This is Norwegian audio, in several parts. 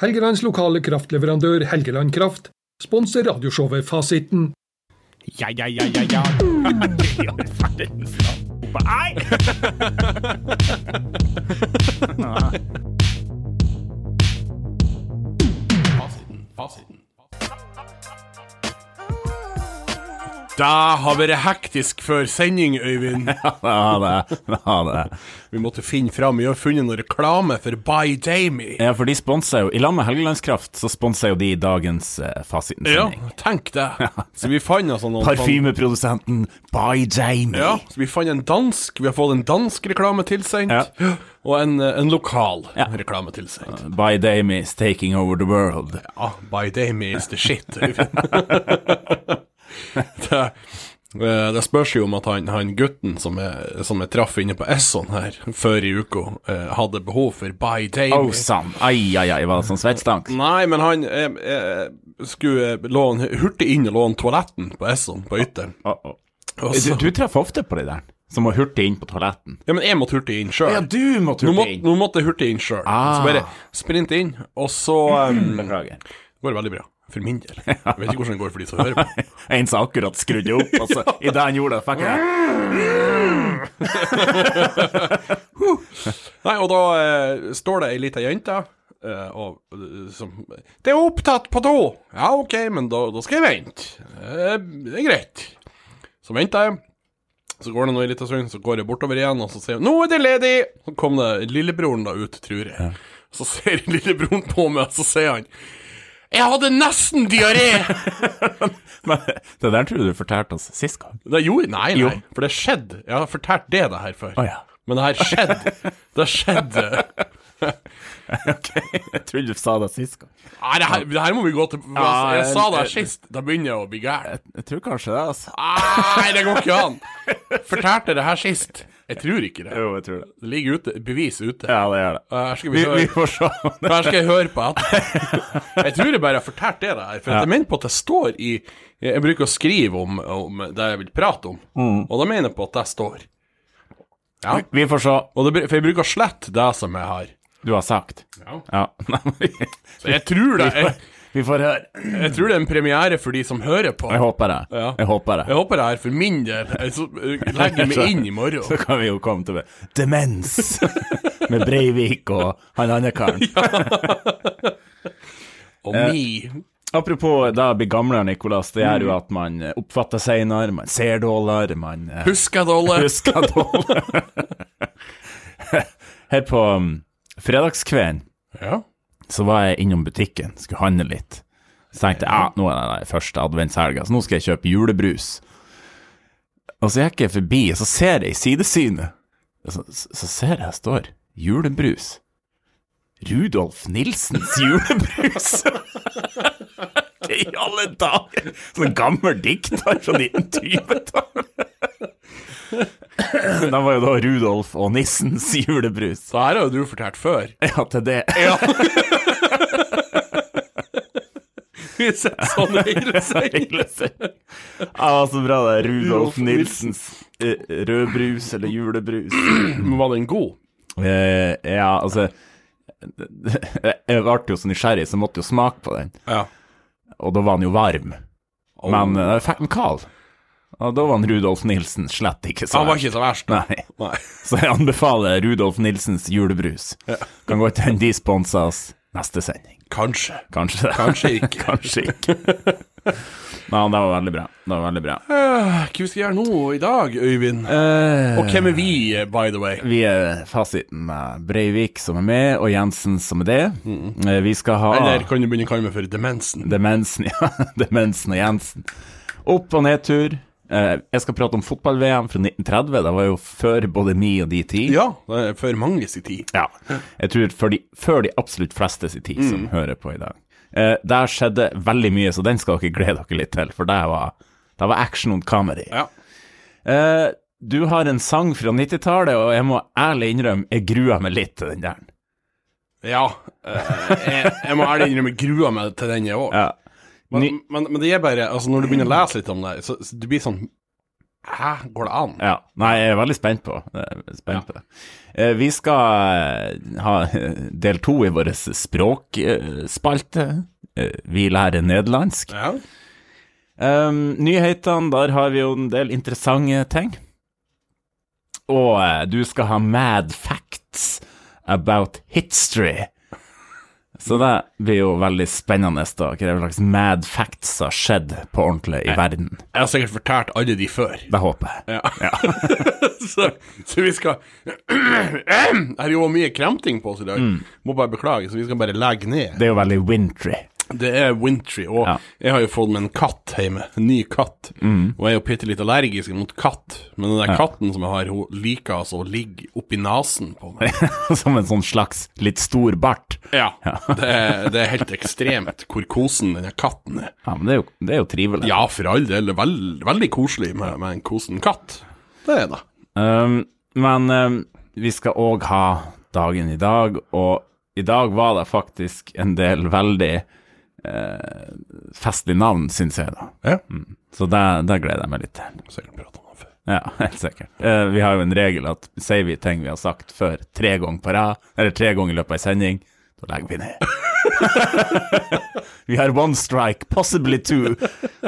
Helgelands lokale kraftleverandør Helgeland Kraft sponser radioshowet Fasiten. Ja, ja, ja, ja, ja. Ja, verdens land. Nei! Det har vært hektisk før sending, Øyvind. Ja, det, ja, det. Vi måtte finne fram. Vi har funnet noen reklame for By Jamie. ja, for de sponser jo I lag med Helgelandskraft så sponser jo de dagens eh, Ja, fasitensending. tenk det. Så vi fant altså noen sånn- Parfymeprodusenten By Jamie. Ja, så vi fant en dansk. Vi har fått en dansk reklame tilsendt. Og en, eh, en lokal Ja. reklame tilsendt. By Jamie is taking over the world. Ja, By Jamie is the shit. Øyvind. det, eh, det spørs jo om at han, han gutten som jeg, som jeg traff inne på Esson her før i uka, eh, hadde behov for By Jamie. Oh, sann. Ai, ai, ai, var det sånn svettstank? Nei, men han eh, eh, skulle eh, låne, hurtig inn og låne toaletten på Esson på Ytteren. Å, å. Og Ah, Du, så- du treffer ofte på de der som må hurtig inn på toaletten. Ja, men jeg måtte hurtig inn sjøl. du må nå, må, nå måtte jeg hurtig inn sjøl. Ah. Så bare sprinte inn, og så eh, Beklager. går det veldig bra. For min del. Jeg vet ikke hvordan det går for de som hører på. En som akkurat skrudde opp, og så i det han gjorde det, fikk jeg Nei, og da eh, står det ei lita jente eh, og, eh, som 'Det er opptatt på do!' Ja, OK, men da, da skal jeg vente. Eh, det er greit. Så venter jeg. Så går det nå en liten stund, så går jeg bortover igjen, og så sier hun 'Nå er det ledig!' Så kom det lillebroren da ut, tror jeg. Så ser lillebroren på meg, og så sier han 'Jeg hadde nesten diaré!' Men det der tror jeg du fortalte oss sist gang. Det gjorde Nei, nei, Jo. for det skjedde. Jeg har fortalt det det her før. Å, ja. Men det her skjedde. Det skjedde. Ok, jeg trodde du sa det sist gang. Nei, det her, det her må vi gå til Ja, Jeg sa det jeg- her sist, da begynner jeg å bli gæren. Jeg tror kanskje det, altså. Nei, det går ikke an! Fortalte jeg det her sist? Jeg tror ikke det. Jo, jeg tror det. Det ligger ute, bevis ute. Ja, det gjør det. Her skal Vi, vi vi høre. får se. om det- Her skal jeg høre på etterpå. Jeg tror jeg bare har fortalt det der. For at jeg mener på at det står i Jeg bruker å skrive om, om det jeg vil prate om, Mm. og da mener jeg på at det står. Ja. Vi får se. Og det, br- for jeg bruker å slette det som jeg har. Du har sagt. Ja. Nei, vi- Så jeg tror det jeg, Vi får høre. jeg tror det er en premiere for de som hører på. Jeg håper det. Ja. Jeg håper det. Jeg håper det er for min del. Jeg så- jeg legger meg inn i Så morgen. kan vi jo komme til det. Demens! Med Breivik og han andre karen. Og mi Apropos da å bli gamlere, Nikolas. Det Mm. gjør jo at man oppfatter seinere, man ser dårligere, man eh, Husker det, Olle? husker dårligere. Her på um, fredagskvelden Ja. så var jeg innom butikken, skulle handle litt. Så tenkte jeg ja, nå er det den første adventshelga, så nå skal jeg kjøpe julebrus. Og så gikk jeg forbi, og så ser jeg i sidesynet Så, så så ser jeg det står julebrus. Rudolf Nilsens julebrus! Hva I alle dager! Sånn gammel dikter fra 1920-tallet. Da var jo da Rudolf og nissens julebrus. Så her har jo du fortalt før. Ja, til det. Vi setter sånn regelser. Englese. Ja, så bra det. er. Rudolf Nilsens eh, rødbrus eller julebrus. Men var den god? Eh, ja, altså Jeg ble jo så nysgjerrig, så jeg måtte jo smake på den. Ja. Og da var han jo varm. Men eh, jeg fikk den kald. Og da var han Rudolf Nilsen slett ikke så Han var verst. ikke så verst. Nei. Nei. Så jeg anbefaler Rudolf Nilsens julebrus. Kan godt hende de sponser oss neste sending. Kanskje. Kanskje. Kanskje ikke. Kanskje ikke. Nei, det var veldig bra. Det var veldig bra. Eh, Hva vi skal gjøre nå i dag, Øyvind? Eh, Og hvem er vi, eh, by the way? Vi er fasiten med Breivik som er med, og Jensen som er det. Eh, Vi skal ha Mm. Eller kan du begynne å kalle meg for Demensen? Demensen, ja. Demensen og Jensen. Opp- og nedtur. Eh, Jeg skal prate om fotball-VM fra 1930. Det var jo før både mi og de tid. Ja, det er for mange sin tid. Ja. Jeg tror før de, før de absolutt fleste sin Mm. tid som hører på i dag. Eh, der skjedde veldig mye, så den skal dere glede dere litt til, for det var, det var action on comedy. Ja. Eh, du har en sang fra 90-tallet, og jeg må ærlig innrømme, jeg gruer meg litt til den der. Ja. eh, jeg, jeg må ærlig innrømme grua meg til den jeg òg. Ja. Men, Ny- men, men det er bare altså Når du begynner å lese litt om det, så, så du blir sånn Hæ, går det an? Ja. Nei, jeg er veldig spent på, jeg er spent på det. Eh, Vi skal eh, ha eh, del to i vår språkspalte. eh, Vi lærer nederlandsk. Ja. Um, nyhetene, der har vi jo en del interessante ting. Og eh, du skal ha mad facts about history. Så det blir jo veldig spennende, da. Hva slags mad facts har skjedd på ordentlig i verden? Jeg har sikkert fortalt alle de før. Det håper jeg. Ja. så, så vi skal Det er jo mye kremting på oss i dag. Må bare beklage, så vi skal bare legge ned. Det er jo veldig wintry. Det er wintry, og Ja. jeg har jo fått meg en katt hjemme. En ny katt. Og jeg er jo bitte litt allergisk mot katt, men den der katten som jeg har, hun liker altså å ligge oppi nesen på meg. Som en sånn slags litt stor bart. Ja. det, er, det er helt ekstremt hvor kosen denne katten er. Ja, men det er jo, det er jo trivelig. Ja, for all del, det er veld, veldig koselig med, med en kosen katt. Det er det. Um, men um, vi skal òg ha dagen i dag, og i dag var det faktisk en del veldig eh, festlige navn, syns jeg, da. Ja. Så det, det gleder jeg meg litt til. Sikkert pratet om det før. Ja, helt sikkert. Eh, vi har jo en regel at sier vi ting vi har sagt før tre ganger på rad, eller tre ganger i løpet av en sending, da legger vi ned. vi har one strike, possibly two,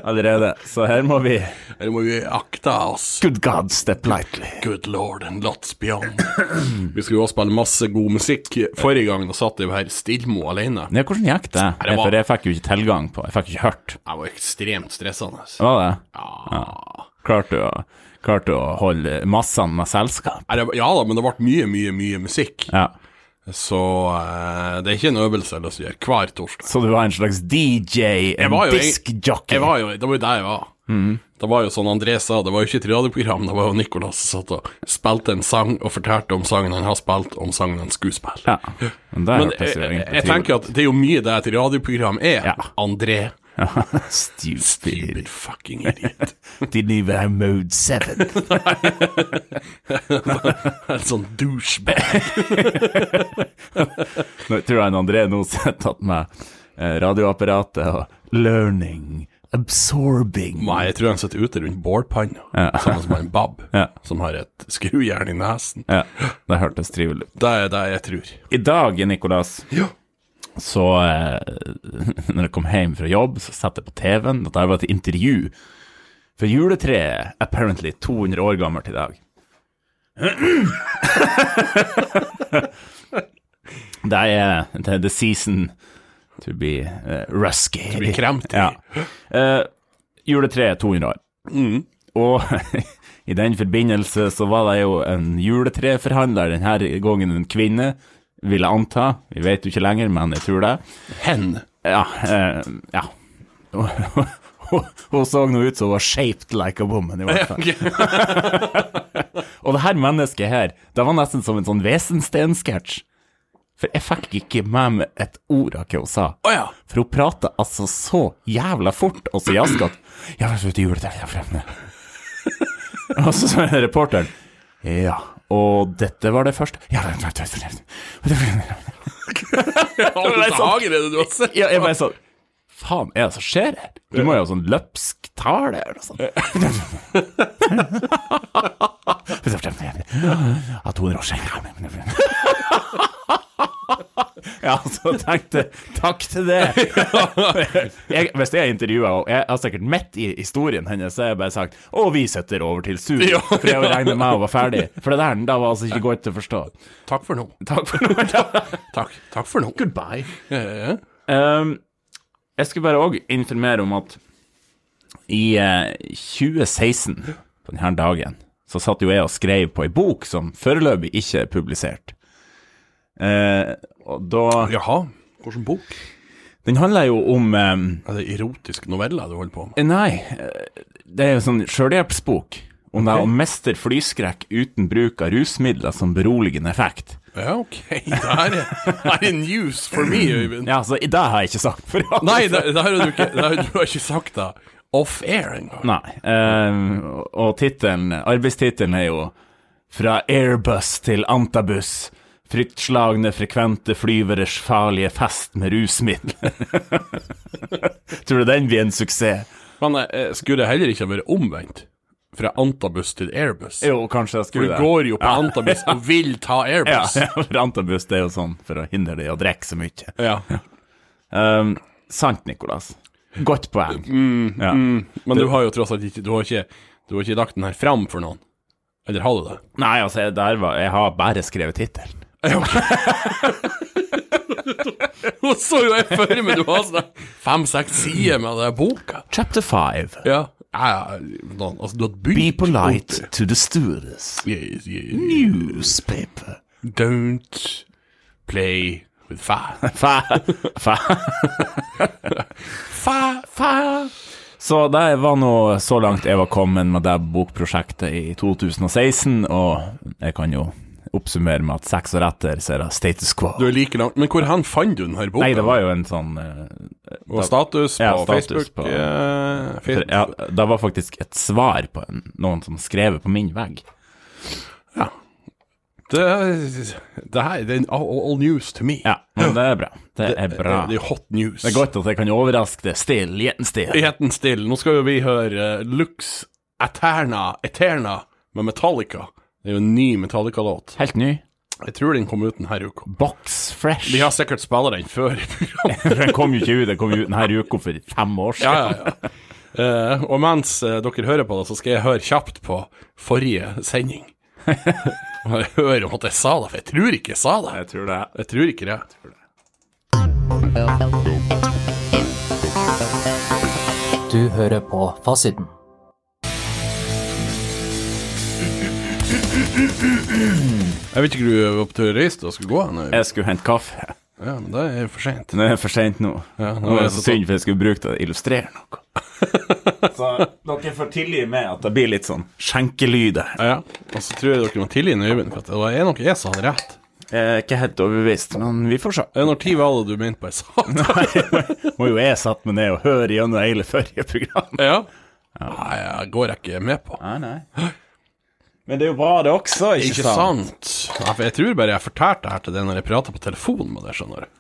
allerede, så her må vi Eller må vi akte oss. Good God, step lightly. Good lord and lots beyond. Vi skulle jo også spille masse god musikk. Forrige gang da satt jeg jo her Stilmo alene. Ja, hvordan gikk det? det var- For jeg fikk jo ikke tilgang på Jeg fikk ikke hørt. Jeg var ekstremt stressende. Var det? Ja. Klarte du å, klarte du å holde massene med selskap? Nei, det- ja da, men det ble mye, mye, mye musikk. Ja. Så eh, det er ikke en øvelse å gjøre hver torsdag. Så du var en slags DJ, en var jo en- diskjockey? Mm. Jeg var jo, det var jo der jeg var. Det var jo sånn André sa, det var jo ikke et radioprogram, det var jo Nicolas som satt og spilte en sang og fortalte om sangen han har spilt, om sangen han skulle spille. Ja. Men det Men hørtes jeg, jo jeg, egentlig jeg tenker at det er jo mye det et radioprogram er. Ja. André, at Stupid. stupid fucking idiot. Didn't even have mode 7. En sånn douchebag. Nå tror jeg en André nå har tatt med eh, radioapparatet og learning, absorbing Nei, jeg tror han sitter ute rundt bålpanna, sammen med en bab Ja. som har et skrujern i nesen. Ja, det hørtes trivelig ut. Det er det jeg tror. I dag, Nikolas, Ja. så eh, Når jeg kom hjem fra jobb, så satt jeg på TV-en. Dette var et intervju. For juletreet er apparently 200 år gammelt i dag. det er det er the season to be eh, rusky. To blir kremt i. Ja. Eh, juletreet er 200 år. Og i den forbindelse så var det jo en juletreforhandler, denne gangen en kvinne, vil jeg anta. Vi vet jo ikke lenger, men jeg tror det. Hen. Ja. Eh, ja. Hun- Hun så nå ut som hun var shaped like a woman, i hvert fall. Og det her mennesket her, det var nesten som en sånn Vesensten-sketsj. For jeg fikk ikke med meg et ord av hva hun sa. Å ja. For hun prater altså så jævla fort og så jaskete. Ja, vær så snill, juletreet er fremme. Og så sa reporteren Ja, og dette var det første Ja, vent, vent, vent, vent, vent. Hvordan hager er sånn. det du har sett? ja jeg bare sånn Faen, er det som skjer her? Du må jo ha sånn løpsk tale eller noe sånt. Ja, 200 år siden Ja, så tenkte jeg Takk til det. jeg, hvis jeg intervjuer henne, jeg har sikkert midt i historien hennes, så har jeg bare sagt Å, vi setter over til sur. Ja, For jeg regner med hun var ferdig. For det der da var altså ikke godt å forstå. Takk for nå. Takk for nå. Takk, takk for nå. Eh, Goodbye. Ja, ja, ja. Um, jeg skulle bare òg informere om at i eh, 2016, på denne dagen, så satt jo jeg og skrev på ei bok som foreløpig ikke er publisert. Eh, og da Jaha, hvilken bok? Den handler jo om eh, Er det erotisk novelle du holder på med? Nei, eh, det er jo sånn sjølhjelpsbok. Om det er å mestre flyskrekk uten bruk av rusmidler som beroligende effekt. Ja, ok. Det her er, det her er news for me, Øyvind. Ja, så i- det har jeg ikke sagt for alle. Nei, det, det her har du ikke, det her, du har ikke sagt det off air engang. Nei. eh, og tittelen, arbeidstittelen er jo 'Fra airbus til antabus'. Fryktslagne frekvente flyveres farlige fest med rusmidler. Tror du den blir en suksess? Men eh, skulle det heller ikke ha vært omvendt? fra Antabus til Airbus. Jo, kanskje jeg For skulle du det. går jo på ja. Antabus og vil ta Ja, Airbus. ja, for Antabus det er jo sånn for å hindre deg i å drikke så mye. Ja. Um, sant, Nikolas. Godt poeng. ja. Men du har jo tross alt ikke Du har ikke, du har ikke lagt den her fram for noen. Eller har du det? Nei, altså, jeg, der var, jeg har bare skrevet tittelen. Nå så jo jeg for meg du har sånn fem-seks sider med den boka. Chapter 5. Ja. ja, ja noen, altså, du har begynt Be polite to the stewardess. Yes, yes. Newspaper. Don't play with fire. Fa, fa. Fire, fire. Så det var nå så langt jeg var kommet med det bokprosjektet i 2016, og jeg kan jo oppsummere med at seks år etter så er det status quo. Du er like langt. Men hvor hen fant du den her boka? Nei, det var jo en sånn eh, Og status på Ja, status Facebook. på- eh, for, fe- ja, Det var faktisk et svar på en, noen som skrev på min vegg. Det, det her det er all, all news to me. Eh, Ja, men det er bra. Det er bra. Det, er hot news. Det er godt at jeg kan overraske det still, gjeten still. Heten stille. Nå skal jo vi høre eh, Lux Aterna Eterna med Metallica. Det er jo en ny Metallica-låt. Helt ny. Jeg tror den kom ut denne uka. Box fresh. Vi har sikkert spilt den før i programmet. Den kom jo ikke ut, den kom jo ut denne uka for fem år Ja, siden. ja, ja. Eh, og mens eh, dere hører på det, så skal jeg høre kjapt på forrige sending. Og jeg hører om at jeg sa det, for jeg tror ikke jeg sa det. Jeg tror det. Jeg tror ikke det. Du hører på Fasiten. Jeg vet ikke hvor du var på tur og reiste og skulle gå hen. eller? Jeg skulle hente kaffe. Ja, men det er for seint. Det er for seint nå. Ja, nå er det så sånn. synd, for jeg skulle bruke det til å illustrere noe. så dere får tilgi meg at det blir litt sånn skjenkelyder. Ja, ja. Og så tror jeg dere må tilgi en Øyvind, for at det er nok jeg sa det rett. Jeg er ikke helt overbevist, men vi får se. Eh, Når tid var det du mente på jeg sa det? Må jo jeg satt meg ned og høre gjennom hele forrige program. Ja. Nei, jeg går jeg ikke med på. Nei, nei. Men det er jo bra det også, ikke, Ikke sant? Nei, for jeg tror bare jeg fortalte det her til deg når jeg prata på telefon med deg, skjønner du.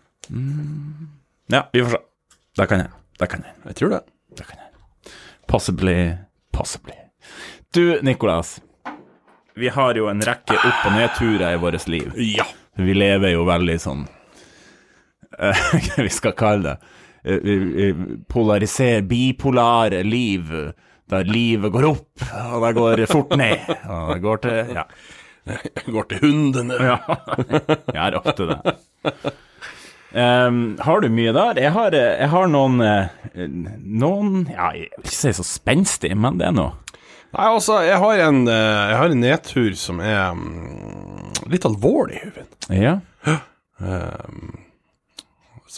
Ja, vi får se. Det kan jeg. Det kan jeg. Jeg tror det. Det kan jeg. Possibly, possibly. Du, Nikolas. Vi har jo en rekke opp- og nedturer i vårt liv. Ja. Vi lever jo veldig sånn eh, Hva vi skal kalle det? Eh, vi- vi Polariser, bipolare liv. Der livet går opp, og det går fort ned. Og det går til Ja, Jeg går til hundene. ja. jeg er ofte det. Em, har du mye der? Jeg har, eh, jeg har noen eh, Noen Ja, jeg vil ikke si så spenstig, men det er noe. Nei, altså, jeg har en, eh, jeg har en nedtur som er mm, litt alvorlig, Øyvind. Ja.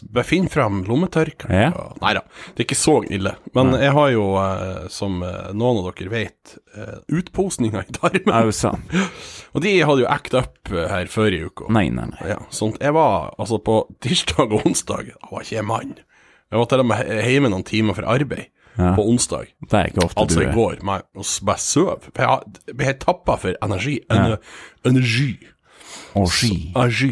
Befinn fram lommetørkeren. Ja. Nei da, det er ikke så ille. Men jeg har jo, eh, som eh, noen av dere vet, eh, utposninger i tarmen. Er jo sant. Og de hadde jo act up eh, her før i uka. Nei, nei, nei. Ja, sånn at jeg var altså på tirsdag og onsdag Da var ikke jeg mann. Jeg var til og med he- hjemme noen timer fra arbeid på onsdag. Det er ikke ofte Altså du i er går, meg, og s- bare søv. For jeg har- ble helt tappa for energi. Ener, Energi. og ski. Energi.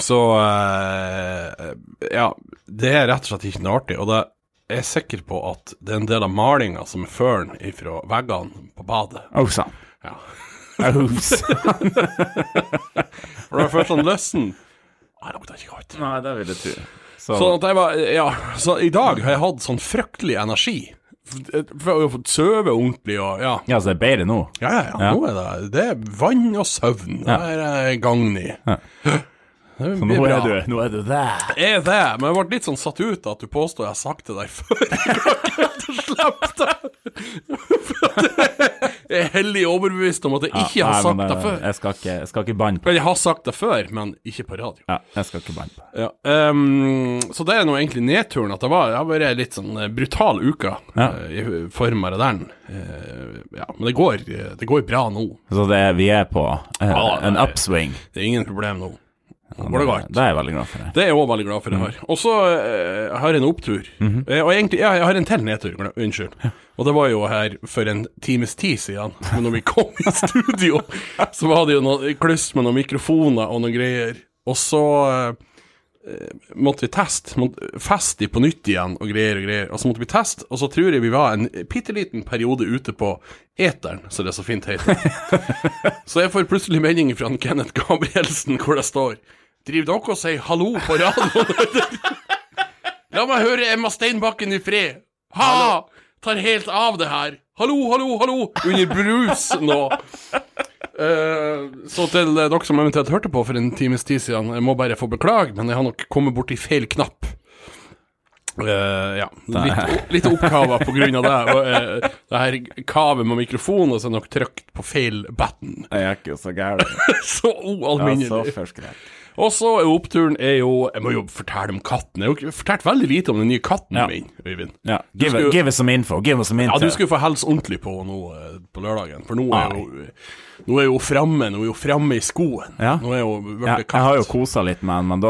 Så eh, Ja, det er rett og slett ikke noe artig. Og det jeg er sikker på at det er en del av malinga som er føren ifra veggene på badet. Au sann. Ja. Au sann. For det var først sånn løssen Nei, det lukter ikke godt. Nei, det vil jeg tro. Så, Sånn at jeg var, ja, så i dag har jeg hatt sånn fryktelig energi. For jeg har jo fått søve ordentlig og ja. ja, så det er bedre nå. Ja, ja, ja, nå er det, det er vann og søvn. Det er jeg i gang i. Ja. Det Så blir nå bra. er, du, nå er du der. Jeg er det, men jeg ble litt sånn satt ut av at du påstår jeg har sagt det der før. Jeg har ikke sluppet det. For at Jeg er hellig overbevist om at jeg ikke har Nei, sagt men eh, det før. Jeg skal ikke, jeg skal ikke banne på Men jeg har sagt det før, men ikke på radio. Ja, jeg skal ikke banne på Ja, ehm, så det er nå egentlig nedturen at det var Det har vært en litt sånn eh, brutal uke Ja. eh, i form av det der. Eh, ja, men det går, eh, det går bra nå. Så det, vi er på eh, Ja, en nei. upswing. Det er ingen problem nå. Nå går det godt. Det er jeg veldig glad for. Det. Det er jeg òg veldig glad for det her. Og så eh, har jeg en opptur. Eh, og egentlig, ja, jeg har en til nedtur, glem- unnskyld. Og det var jo her for en times tid siden, men når vi kom i studio, så var det jo noe kluss med noen mikrofoner og noen greier. Og så eh, måtte vi teste. måtte- Feste de på nytt igjen og greier og greier. Og så måtte vi teste, og så tror jeg vi var en bitte liten periode ute på eteren, som det så fint heter. så jeg får plutselig melding fra han Kenneth Gabrielsen hvor det står Driver dere og sier hallo på radioen? La meg høre Emma Steinbakken i fred. Ha! Tar helt av det her. Hallo, hallo, hallo! Under brus nå. Eh, så til eh, dere som eventuelt hørte på for en times tid siden, jeg må bare få beklage, men jeg har nok kommet borti feil knapp. Eh, ja. Litt, litt oppkava på grunn av det. Og, eh, det her kavet med mikrofonen, og så er det nok trykt på feil button. Jeg er ikke så gæren. Så Jeg er så ualminnelig. forskrekk. Og så er oppturen er jo Jeg må jo fortelle om katten. Jeg har jo ikke fortalt veldig lite om den nye katten Ja. min, Øyvind. Ja, Du give, skulle- give us some info. Give us some info. Ja, du skulle få helse ordentlig på henne nå eh, på lørdagen, for nå Ah. er jo Nå er jo framme, nå er jo framme i skoen. Ja. Nå er jo blitt Ja, katt. jeg har jo kosa litt med han, men da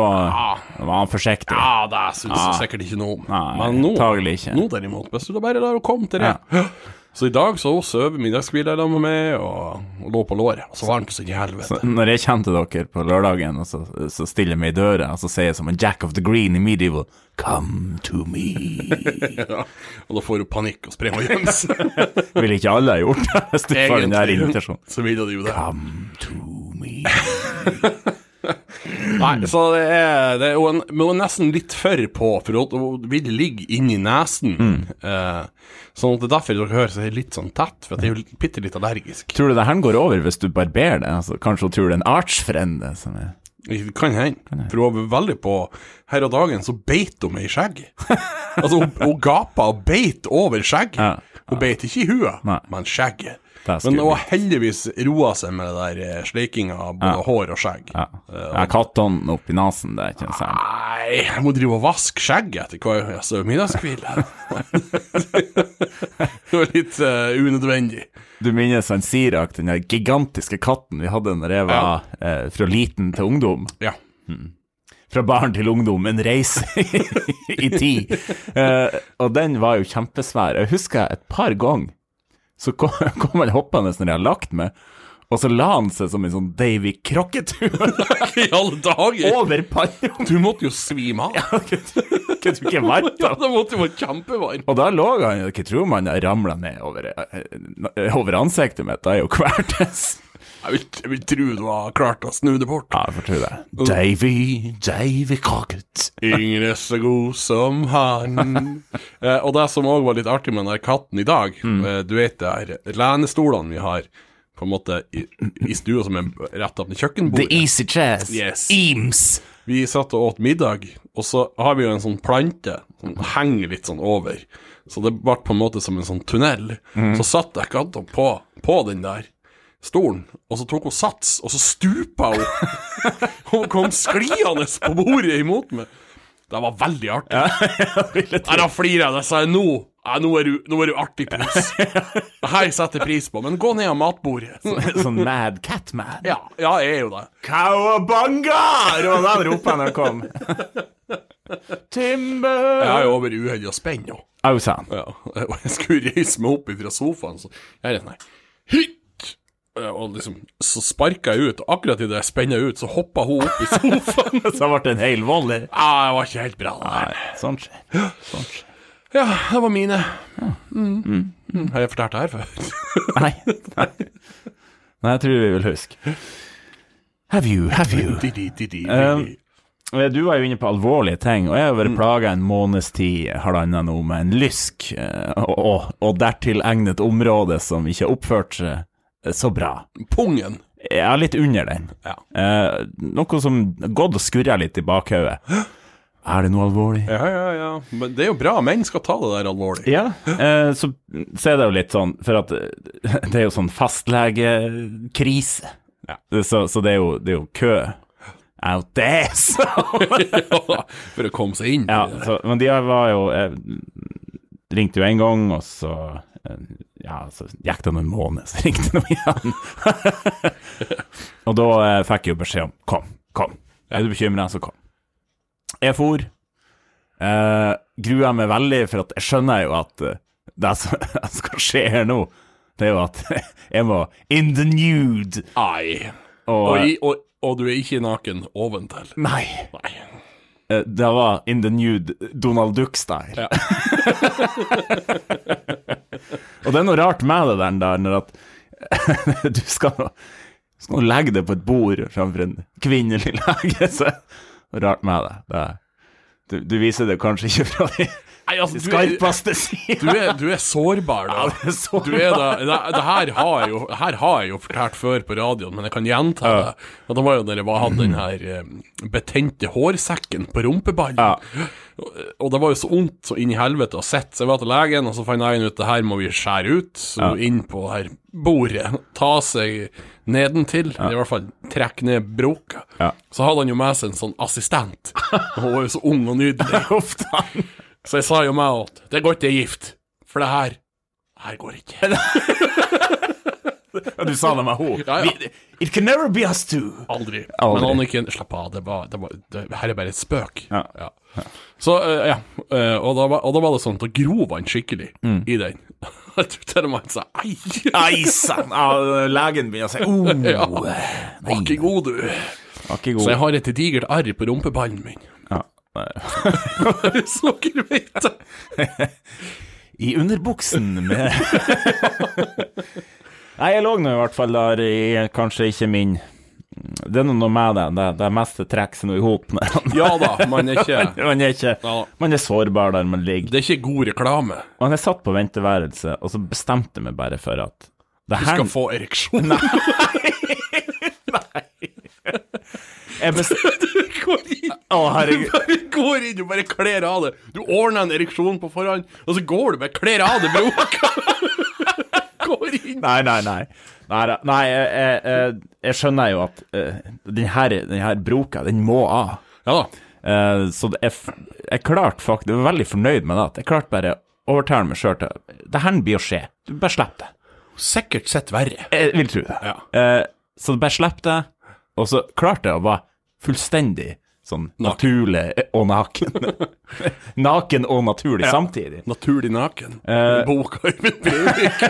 var han forsiktig. Ja, det syns jeg sikkert ikke noe om. Ah. Nei, Men nå, antagelig ikke. nå derimot, hvis du da bare lar henne komme til det. Så i dag så sov middagshvila sammen med meg, og, og lå på låret. Og så varmt som i helvete. Når jeg kommer til dere på lørdagen, og så, så stiller jeg meg i døra, og så sier jeg som en Jack of the Green i Medieval Come to me. Ja. Og da får hun panikk og springer og gjemmer seg. Ville ikke alle ha gjort det hvis du får den der invitasjonen? så ville de jo det. Come to me. Nei, så det er, det er jo en, men hun er nesten litt for på, for hun vil ligge inni nesen. Mm. Eh, sånn at det er derfor dere hører seg litt sånn tett, for at jeg er jo bitte litt allergisk. Tror du det her går over hvis du barberer det? Altså, kanskje hun tror det er en artsfrende som er Det kan hende, for hun var veldig på Her og dagen så beit hun meg i skjegg. altså, hun, hun gapa og beit over skjegg. Ja. Hun beit ikke i huet, Nei. men skjegget. Det er Men hun skummelt. har heldigvis roa seg med det der eh, sleikinga av både hår og skjegg. Ja. Jeg kattånden oppi nesen, det er ikke en sang. Nei, jeg må drive og vaske skjegget etter hver altså, middagskvile. det var litt eh, unødvendig. Du minnes han Sirak, den der gigantiske katten vi hadde når jeg var eh, fra liten til ungdom? Ja. fra barn til ungdom, en reise i tid. Eh, og den var jo kjempesvær. Jeg husker et par ganger så kom, kom han hoppende når jeg hadde lagt meg, og så la han seg som en sånn Davy Crocket-tur I alle dager! over panna. du måtte jo svime av. Kunne du ikke varmt Ja, han? da måtte jo være kjempevarm. Og da lå han jo, ikke tror man ramla ned over, eh, over ansiktet mitt, da er jo kvertes. Jeg vil, jeg vil tro du har klart å snu det bort. Ja, jeg får tro det. Davy, Davy Crocket. Ingen er så god som han. eh, og det som òg var litt artig med den der katten i dag, eh, du vet det her lenestolene vi har på en måte i, i stua som er rett opp til The kjøkkenbordet. Easy Chairs. Yes. Eames. Vi satt og åt middag, og så har vi jo en sånn plante som henger litt sånn over. Så det ble på en måte som en sånn tunnel. Så satt jeg katta på, på den der stolen, og så tok hun sats, og så stupa hun. hun kom skliende på bordet imot meg. Det var veldig artig. Nei, da flirer jeg. Da sa jeg nå. Nei, nå er du, nå er du artig pose. Det her setter jeg pris på. Men gå ned av matbordet. Sånn Mad Catman. ja, ja, jeg er jo det. Kawabanga! Det var den ropen han kom. Timber! Jeg er jo over uheldig og spent nå. Au, sa han. Ja, og jeg skulle reise meg opp fra sofaen, så jeg er sånn her Hytt! Og liksom, så sparka jeg ut, og akkurat idet jeg spenner ut, så hoppa hun opp i sofaen. Så ble det en hel volley. ah, jeg var ikke helt bra der. Sånn skjer. Ja, det var mine. Mm. Mm. Har jeg fortalt det her før? Nei. Nei, Nei, jeg tror vi vil huske. Have you, have you. Di-di-di-di-di. Eh, Du var jo inne på alvorlige ting, og jeg har vært plaga en måneds tid, halvannen nå, med en lysk, eh, og, og, og dertil egnet område som ikke har oppført seg eh, så bra. Pungen. Jeg er litt under den. Ja. Eh, noe som gått og skurrer litt i bakhodet. Er det noe alvorlig? Ja, ja, ja. Men det er jo bra. Menn skal ta det der alvorlig. Ja, eh, så, så er det jo litt sånn, for at eh, det er jo sånn fastlegekrise. Så, så det, er jo, det er jo kø out there, så. For å komme seg inn. Ja, så, men de var jo eh, Ringte jo en gang, og så eh, Ja, så gikk det noen måneder, så ringte de igjen. og da eh, fikk jeg jo beskjed om Kom, kom. Er du bekymra, så kom. Jeg for. Eh, grua meg veldig, for at jeg skjønner jo at eh, det som skal skje her nå, det er jo at jeg må in the nude. Ai. Og, Og, i, og, og du er ikke naken oventil. Nei. Nei. eh, det var in the nude Donald Duck-style. og det er noe rart med det der, der når at du skal, nå- skal nå legge det på et bord framfor en kvinnelig lege. Så det er rart med det. det er, du, du viser det kanskje ikke fra de Nei, altså, du er- skarpeste Du sidene. er, du er sårbar, da. Ja, det er sårbar. Du er da det, det her, har jeg jo, det her har jeg jo fortalt før på radioen, men jeg kan gjenta det. Og det var jo da jeg var- hadde den her eh, betente hårsekken på rumpeballen. Og, og det var jo så vondt så inn i helvete å sitte. Så jeg var til legen, og så fant legen ut det her må vi skjære ut. Så inn på det her bordet, ta seg nedentil, eller i hvert fall trekke ned broka. Ja. Så hadde han jo med seg en sånn assistent. Og Hun var jo så ung og nydelig. Så jeg sa jo meg at det er godt det er gift, for det her her går ikke. Og du sa det med henne. Ja, ja. Vi- It can never be us two. Aldri. Aldri. Men Anniken, slapp av, det var, det var det, her er bare et spøk. Ja. Så, eh, ja. eh, og, da var, og da var det sånn, da grov han skikkelig i den. Jeg tror til og med han sa ei, Nei sann! Ja, legen begynner å si oh, Ja. nei, var ikke god, du. var ikke Så god. jeg har et digert arr på rumpeballen min. Ja. Så dere vet det. I underbuksen med Nei, jeg lå nå i hvert fall der i kanskje ikke min Det er nå noe med det. Det, det meste trekker seg nå i hop. Man Ja da, man er ikke er ikke Ja. Man er sårbar der man ligger. Det er ikke god reklame. Og jeg satt på venteværelset, og så bestemte jeg meg bare for at det Du her skal få ereksjon. jeg best- Du går inn, Å, du herregud. bare går inn, du bare kler av det. Du ordner en ereksjon på forhånd, og så går du bare kler av det broka. Går inn. Nei, nei, nei. Nei, da. nei jeg, jeg, jeg- jeg skjønner jo at eh, den her, den her broka, den må av. Ja da. Eh, så det- jeg, f- jeg klarte faktisk Jeg var veldig fornøyd med det. at Jeg klarte bare å overtale meg sjøl til Det her blir å skje. Du bare slipp det. Sikkert sett verre. Jeg vil tro det. Ja. Eh, så bare slipp det. Og så klarte jeg å være fullstendig sånn naturlig og naken. naken og naturlig samtidig. Naturlig naken. Eh. Boka Øyvind Brevik.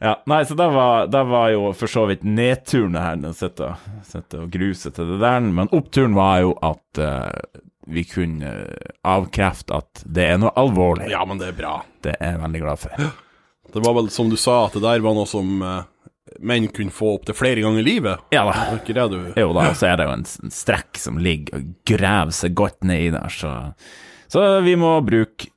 Ja, nei, så det var, det var jo for så vidt nedturen her, å sitte og- sitte og gruse til det der, men oppturen var jo at eh, vi kunne eh, avkrefte at det er noe alvorlig. Ja, men det er bra. Det er jeg veldig glad for. Det var vel som du sa, at det der var noe som eh, menn kunne få opptil flere ganger i livet. Ja da. Var ikke det du Jo da, og så er det jo en, s- en strekk som ligger og graver seg godt nedi der, så Så vi må bruke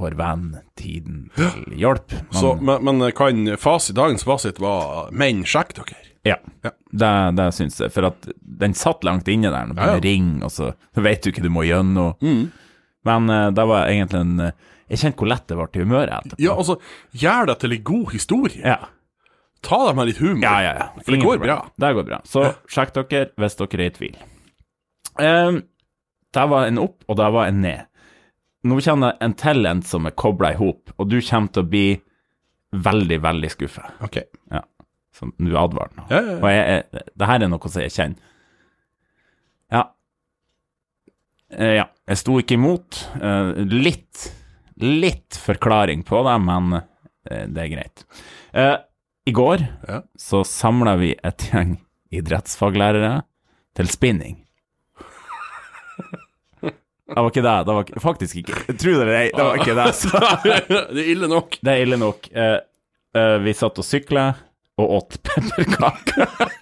vår venn tiden til hjelp. Men, så, men, men kan fasit, dagens fasit var menn, sjekk dere. Ja, Ja. det, det syns jeg. For at den satt langt inne der, og Ja, Mm. ja. begynner å ringe, og så vet du ikke du må gjennom. Men eh, det var egentlig en eh, Jeg kjente hvor lett det var til humøret etterpå. Ja, altså, gjør det til en god historie. Ja, Ta det med litt humor. ja, ja. ja. For det Ingen går problem. bra. Det går bra. Så sjekk dere hvis dere er i tvil. Um, der var en opp, og der var en ned. Nå kjenner jeg en til en som er kobla i hop, og du kommer til å bli veldig, veldig skuffa. Ok. Ja. Som du advarer nå. Ja, ja, ja. Og jeg, jeg, det her er noe som jeg kjenner. Ja. Eh, ja. Jeg sto ikke imot. Eh, litt, litt forklaring på det, men eh, det er greit. Eh, I går Ja. så samla vi et gjeng idrettsfaglærere til spinning. Det var ikke det. det var ikke, faktisk ikke. Tro det eller ei, det var ikke det. Så. det er ille nok. Det er ille nok. Eh, eh, vi satt og sykla og åt pepperkaker.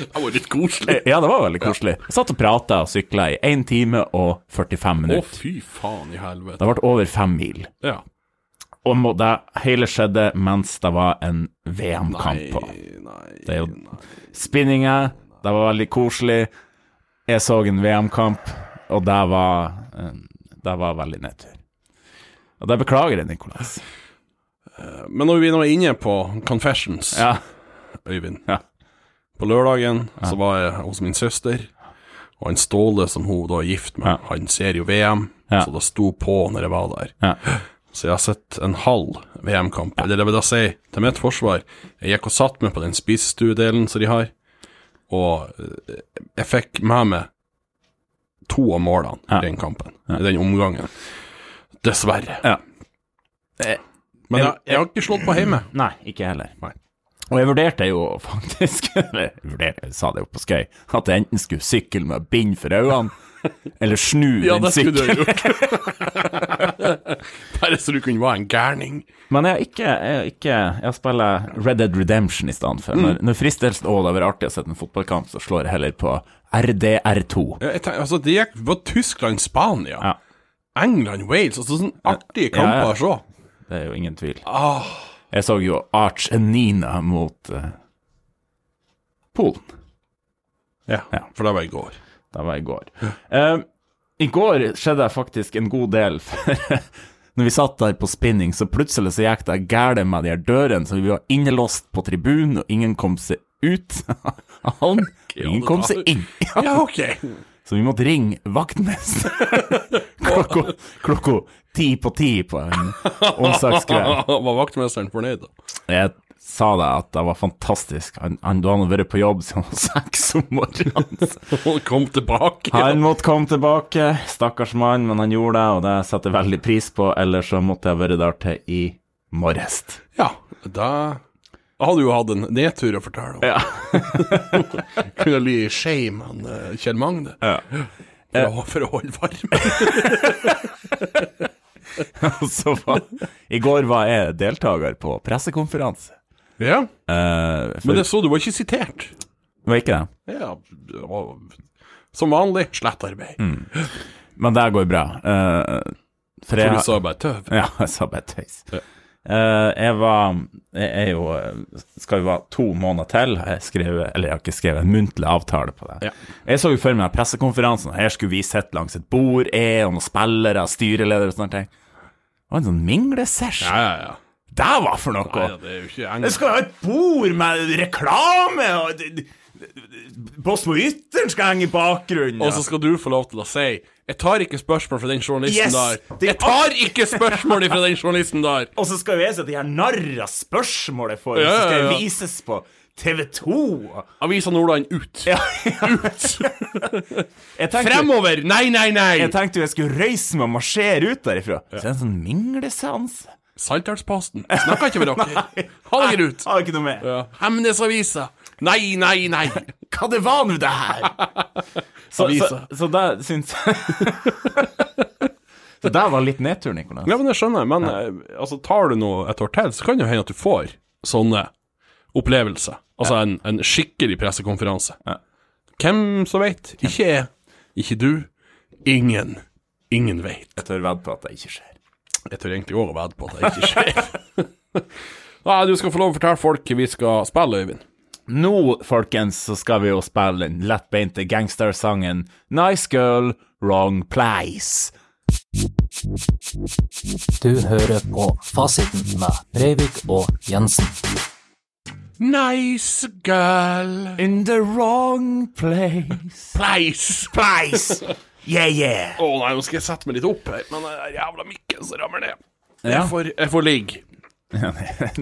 Det var litt koselig. Eh, ja, det var veldig koselig. Satt og prata og sykla i 1 time og 45 Å, minutter. fy faen i helvete. Det ble over fem mil. Ja. Og må- det hele skjedde mens det var en Nei, VM-kamp på. nei. Det er jo spinninga, det var veldig koselig. Jeg så en VM-kamp, og det var, eh, det var veldig nedtur. Og det beklager jeg, Nikolas. Men når vi nå er inne på confessions, Ja, Øyvind Ja. På lørdagen så var jeg hos min søster, og han Ståle, som hun da er gift med, Ja. han ser jo VM, Ja. så det sto på når jeg var der. ja. Så jeg har sett en halv VM-kamp. Eller det vil da si, til mitt forsvar, jeg gikk og satt meg på den spisestuedelen som de har, og eh, jeg fikk med meg to av målene Ja. i den kampen, i den omgangen. Dessverre. Ja. Men jeg, jeg har ikke slått på hjemme. Nei, ikke heller. Nei. Og jeg vurderte jo faktisk eller, jeg vurderte, Jeg sa det jo på skøy, at jeg enten skulle sykle med bind for øynene, eller snu Ja, den det skulle du sykkelen. ha gjort. Bare så du kunne være en gærning. Men jeg har ikke, jeg har ikke Jeg spiller Red Dead Redemption i stedet for. Mm. Når, når fristelsen Å, det hadde vært artig å sette en fotballkamp, så slår jeg heller på RDR2. Ja, jeg tenker, altså, det gikk- var Tyskland, Spania, Ja. England, Wales altså Sånne Ja, artige ja. kamper å se. Ah. Det er jo ingen tvil. Jeg så jo Arch Nina mot eh, Polen. Ja, Ja. for det var i går. Det var i går. Eh, I går skjedde det faktisk en god del. For når vi satt der på spinning, så plutselig så gikk det gærent med de her dørene. Så vi var innelåst på tribunen, og ingen kom seg ut av hallen. Ingen kom seg inn. Ja, OK. Så vi måtte ringe vaktmesteren klokka, klokka ti på ti på en onsdagskveld. var vaktmesteren fornøyd, da? Jeg sa det at det var fantastisk. Han, han da hadde vært på jobb siden han var seks om morgenen. Og kom tilbake. Han måtte komme tilbake, stakkars mann, men han gjorde det, og det setter jeg veldig pris på. Ellers så måtte jeg vært der til i morges. Ja, da hadde jo hatt en nedtur å fortelle om. Kunne ligget i skje med han, eh, Kjell Magne for, å, for å holde varmen. Så var, I går var jeg deltaker på pressekonferanse. ja, Eh, for, men det så du var ikke sitert. var ikke det. Ja, det var som vanlig slett arbeid. Mm. Men det går bra. Eh, for For jeg, du sa bare tøv. Ja, jeg sa bare tøys. Eh, jeg var Jeg er jo Skal jo være to måneder til. Jeg skrev, eller jeg har ikke skrevet en muntlig avtale på det. Ja. Jeg så jo for meg pressekonferansen. Her skulle vi sitte langs et bord, jeg og noen spillere, styreledere og sånne ting. Det var en sånn minglesesh. Ja, ja, ja. Det var for noe! Nei, det er jo ikke Jeg engang. skal ha et bord med reklame, og d- d- d- Båtsmo Ytteren skal henge i bakgrunnen. Og så skal du få lov til å si Jeg tar ikke spørsmål fra den journalisten Yes, der. det- Jeg tar ikke spørsmål fra den journalisten der! Og så skal jo jeg si at de her narra spørsmål jeg får, så Ja, skal ja, jeg ja. vises på TV 2. Avisa Nordland ut. Jeg tenkte, Fremover! Nei, nei, nei! jeg tenkte jo jeg skulle reise meg og marsjere ut derifra. Så det er en sånn mingleseanse. Saltdalsposten. Snakker ikke med dere. Ha dere ut. Har ikke noe mer. Ja. Hemnesavisa. Nei, nei, nei. Hva det var nå, det her? Så, så, Avisa. så det syns Så det var litt nedtur, Nikolai. Ja, men det skjønner jeg, men eh, altså, tar du nå et år til, så kan det jo hende at du får sånne opplevelser. Altså en, en skikkelig pressekonferanse. Hvem som vet? Ikke jeg, ikke du, ingen. Ingen vet. Jeg tør vedde på at det ikke skjer. Jeg tør egentlig òg å vedde på at det ikke skjer. Nei, du skal få lov å fortelle folk vi skal spille, Øyvind. Nå, folkens, så skal vi jo spille den lettbeinte gangstersangen Nice Girl, Wrong Place. Du hører på Fasiten med Breivik og Jensen. Nice girl In the wrong place. place. Place! Yeah, yeah. Å nei, nå skal jeg sette meg litt opp her, men den der jævla mikken som rammer ned. Ja. Jeg får, jeg får ligge.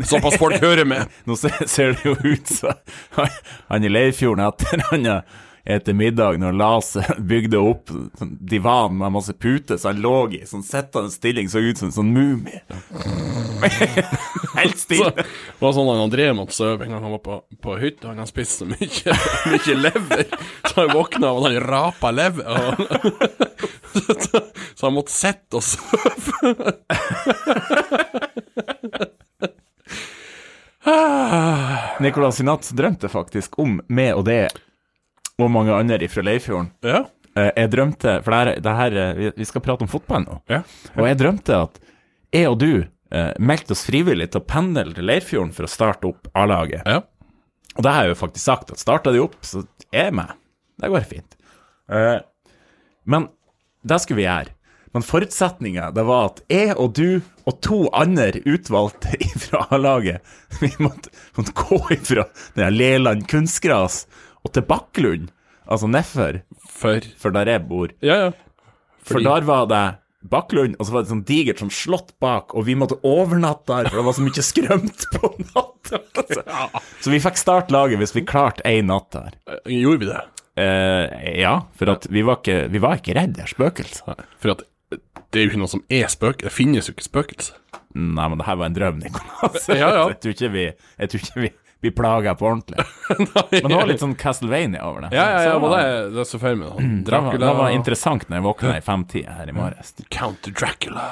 Såpass folk hører med. Nå ser, ser det jo ut som han i Leirfjorden etter han er- etter middag, når Lars bygde opp sånn divan med masse puter så han lå i, sånn sittende stilling, så ut som en sånn mumie. Helt Så, stille. det var sånn han André måtte sove en gang han var på, på hytta. Han spiste så mye, mye lever, så han våkna av at han rapa lever. Og, så, så han måtte sitte og sove. Nicolas Sinat drømte faktisk om meg og det, og mange andre fra Leirfjorden. Ja. Eh, Jeg drømte, for det her, det her eh, vi- Vi skal prate om fotball nå. Ja. Og jeg drømte at jeg og du eh, meldte oss frivillig til å pendle til Leirfjorden for å starte opp A-laget. Ja. Og det har jeg jo faktisk sagt, at starter de opp, så er jeg med. Det går fint. Eh, men det skulle vi gjøre. Men forutsetninga det var at jeg og du og to andre utvalgte fra A-laget Vi måtte, måtte gå ifra den her Leland kunstgras og til Bakklund, altså nedfor, For for der jeg bor. Ja, ja. For Fordi- der var det Bakklund, og så var det sånn digert sånn slott bak, og vi måtte overnatte der, for det var så mye skrømt på natta. Altså. Så vi fikk starte laget hvis vi klarte én natt der. Gjorde vi det? Eh, ja, for at vi var ikke, vi var ikke redd for spøkelser. For at det er jo ikke noe som er spøk. Det finnes jo ikke spøkelser. Nei, men det her var en drøm, Nikolas. Ja, ja. Jeg tror ikke vi, jeg tror ikke vi blir plaga på ordentlig. Men det var litt sånn Castlevania over det. Ja, ja, ja, Så men det, det, det er så feil med det, det. var, det Dracula var interessant når jeg våkna i femtida her i morges. Count Dracula.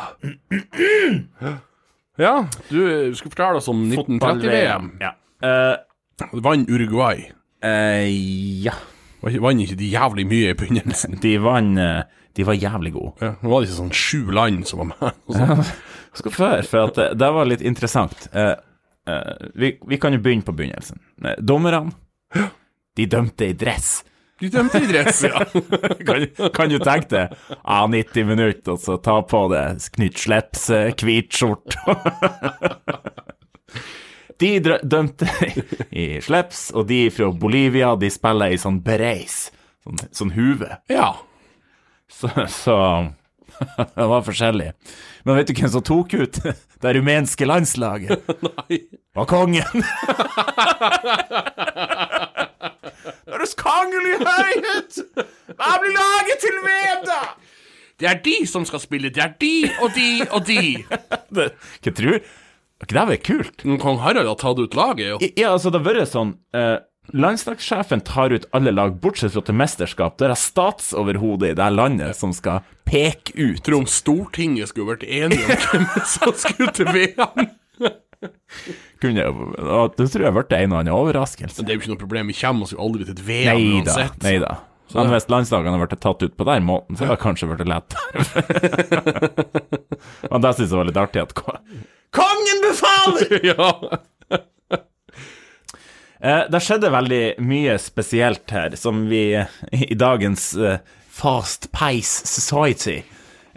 Ja, du skulle fortelle oss om 1930-VM. Ja. Eh, Vann Uruguay. eh, ja. Vann ikke de jævlig mye i begynnelsen? De vant eh, De var jævlig gode. Ja, nå var det ikke sånn sju land som var med. Og sånn. så- skal før, for at det, det var litt interessant. Eh, eh, vi, vi kan jo begynne på begynnelsen. Eh, Dommerne, de dømte i dress. De dømte i dress, ja. Kan, kan du tenke deg? Ja, 90 minutter, og så ta på deg knytt slips, eh, hvit skjorte De drø- dømte i slips, og de fra Bolivia, de spiller i sånn bereis, sånn, sånn huve. ja. Så, så det var forskjellig. Men vet du hvem som tok ut det rumenske landslaget? Nei. var kongen. Deres kongelige høyhet, hva blir laget til VM, da? Det er de som skal spille. Det er de og de og de. Det, hva tror du? Ikke det var kult? Men Kong Harald har tatt ut laget, jo. I- Ja, altså, det har vært sånn eh, Landslagssjefen tar ut alle lag, bortsett fra til mesterskap. Det er statsoverhodet i det her landet som skal peke ut Tror om Stortinget skulle vært enige om hvem som skulle til VM. kunne jo og Det tror jeg ble en og annen overraskelse. Det er jo ikke noe problem. Vi kommer oss jo aldri til et VM Nei da. uansett. Nei da. Men hvis landslagene hadde blitt tatt ut på den måten, så hadde det kanskje blitt lettere. Men det syns jeg var litt artig at ko- Kongen befaler! Ja. Eh, det skjedde veldig mye spesielt her, som vi eh, i dagens eh, fast pace society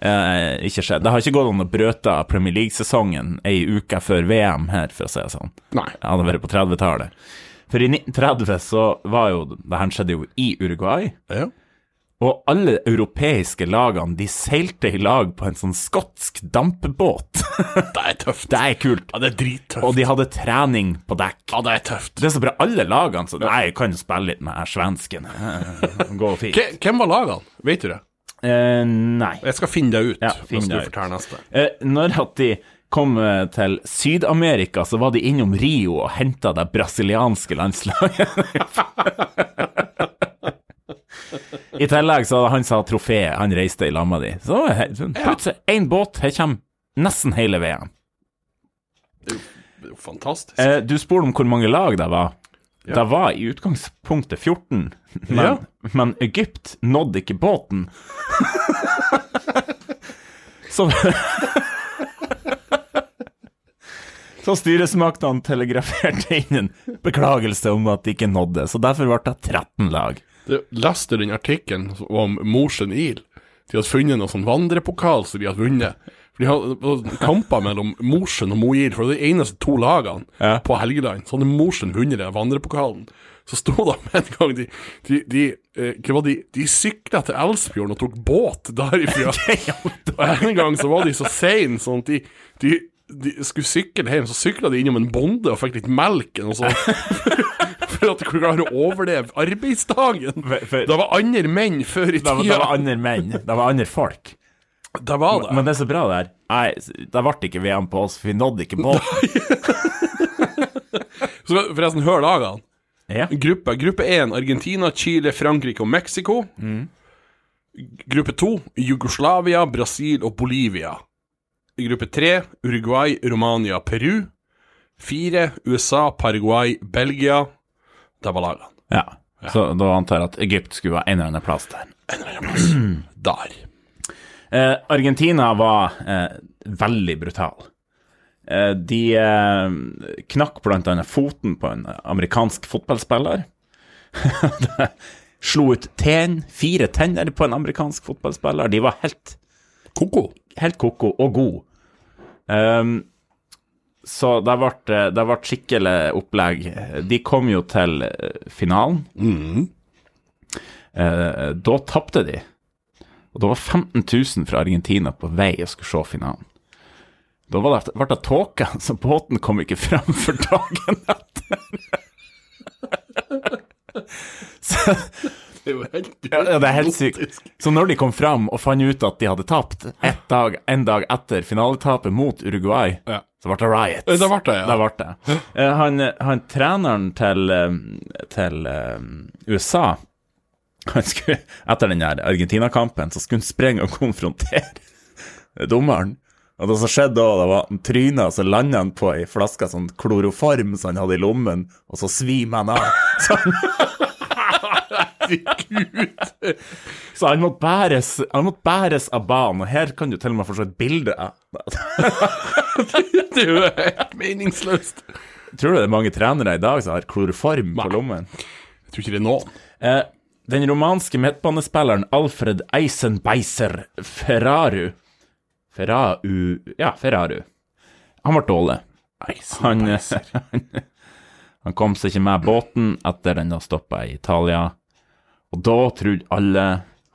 eh, ikke skjedde. Det har ikke gått an å brøte Premier League-sesongen ei uke før VM her, for å si det sånn. Nei. Jeg hadde vært på 30-tallet. For i 1930 så var jo Det her skjedde jo i Uruguay. Ja. Og alle europeiske lagene de seilte i lag på en sånn skotsk dampbåt. Det er tøft. Det er kult. Ja, det er drittøft. Og de hadde trening på dekk. Ja, det er tøft. Det er så bra. Alle lagene så Nei, jeg kan jo spille litt med her svensken. Eh, Går fint. Ke- Hvem var lagene? Vet du det? Eh, nei. Jeg skal finne deg ut. Ja, hvis finn du deg ut. forteller neste. Eh, når at de kom eh, til Syd-Amerika, så var de innom Rio og henta det brasilianske landslaget. I tillegg så hadde han sa trofeet, han reiste i lamma di. Så det var helt sånn, plutselig, én båt, her kommer nesten hele VM. Det er jo fantastisk. Eh, du spurte om hvor mange lag det var. Det var i utgangspunktet 14, men, Ja. men Egypt nådde ikke båten. så Så styresmaktene telegraferte inn en beklagelse om at de ikke nådde, så derfor ble det 13 lag. Du, Leste du den artikkelen om Mosjøen IL? De hadde funnet noen sånn vandrepokal som de hadde vunnet. For De hadde det var kamper mellom Mosjøen og Mo IL, for det er de eneste to lagene Ja. på Helgeland. Så hadde Mosjøen vunnet den vandrepokalen. Så sto det med en gang De, de, de, eh, hva var de, de sykla til Elsfjorden og tok båt derifra. og en gang så var de så seine sånn at de, de de skulle sykle hjem, så sykla de innom en bonde og fikk litt melk eller noe sånt. For at de kunne klare å overleve arbeidsdagen. For- for- Det var andre menn før i Det tida. var, det var andre menn, det var andre folk. Det var det. Men det er så bra det her. Nei, det ble ikke VM på oss, for vi nådde ikke båten. Så forresten, hør lagene. Ja. Gruppe gruppe 1 Argentina, Chile, Frankrike og Mexico. Gruppe 2 Jugoslavia, Brasil og Bolivia. Gruppe 3 Uruguay, Romania, Peru. 4 USA, Paraguay, Belgia. Det var lagene. Ja. Så da antar jeg at Egypt skulle ha en eller annen plass der. Der. Eh, Argentina var eh, veldig brutal. Eh, de eh, knakk bl.a. foten på en amerikansk fotballspiller. Det Slo ut ten, fire tenner på en amerikansk fotballspiller. De var helt, Koko. helt ko-ko og god. Ehm, så det ble, det ble skikkelig opplegg. De kom jo til eh, finalen. Eh, da tapte de. Og da var 15 000 fra Argentina på vei og skulle se finalen. Da var det, ble det tåke, så båten kom ikke fram for dagen etter. så, Det er jo helt Ja, ja, det er helt sykt. Så når de kom fram og fant ut at de hadde tapt ett dag, en dag etter finaletapet mot Uruguay, Ja. så ble det riots. Eh, Da ble det, ja. Da ble det. Eh, Han, han treneren til, eh, til eh, USA han skulle, Etter den der Argentina-kampen så skulle han springe og konfrontere dommeren. Og det som skjedde da, det var at han tryna, så landa han på ei flaske sånn kloroform som han hadde i lommen, og så svimer han av. Så han, så han måtte bæres Han måtte bæres av banen, og her kan du til og med få se et bilde av Det er jo helt meningsløst. Tror du det er mange trenere i dag som har kloroform på lommen? Jeg tror ikke det er noen. Eh, den romanske midtbanespilleren Alfred Eisenbeiser Ferraru Ferraru Ja, Ferraru. Han ble dårlig. Han, han, han kom seg ikke med båten etter den stoppa i Italia. Og da trodde alle,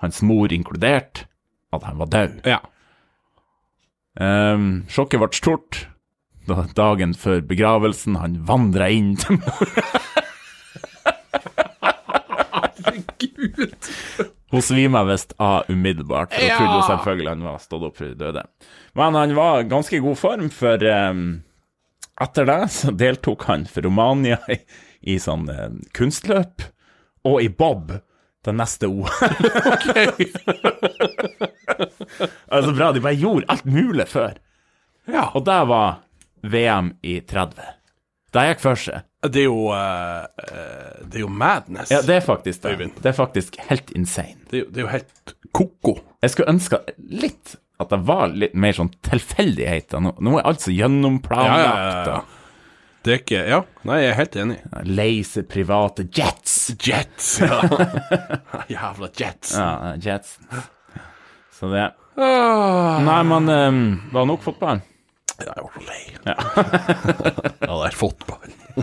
hans mor inkludert, at han var død. Ja. Ehm, sjokket ble stort da dagen før begravelsen han vandra inn til mora. Hun svima visst av umiddelbart. Hun trodde jo selvfølgelig han var stått opp fra de døde. Men han var i ganske god form, for ehm, etter det så deltok han for Romania i, i sånn eh, kunstløp og i bob til neste OL. altså bra, de bare gjorde alt mulig før. Ja. Og det var VM i 30. Det gikk for seg. Det er jo eh, eh, Det er jo madness. Ja, det er faktisk det. Øyvind. Det er faktisk helt insane. Det, er jo- det er jo helt ko-ko. Jeg skulle ønske litt at det var litt mer sånn tilfeldigheter. Nå, nå er alt så Ja, ja, gjennomplanlagt. ja, ja. og Det er ikke Ja, nei, jeg er helt enig. Leise private jets. Jets. Ja. Jævla jets. Ja, jets. Så det Ah, Nei, men ehm, var nok fotball. jeg er så lei. Ja. det er fotball. Var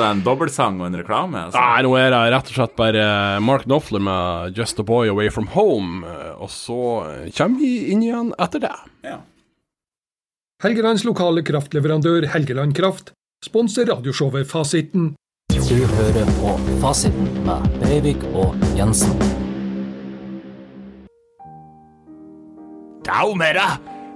det en dobbeltsang og en reklame? altså? Nei, nå er det rett og slett bare eh, Mark Knopfler med 'Just a Boy Away From Home', eh, og så kommer vi inn igjen etter det. Helgelands lokale kraftleverandør Helgeland Kraft sponser radioshowet Fasiten. Du hører på Fasiten med Breivik og Jensen. Dag med deg!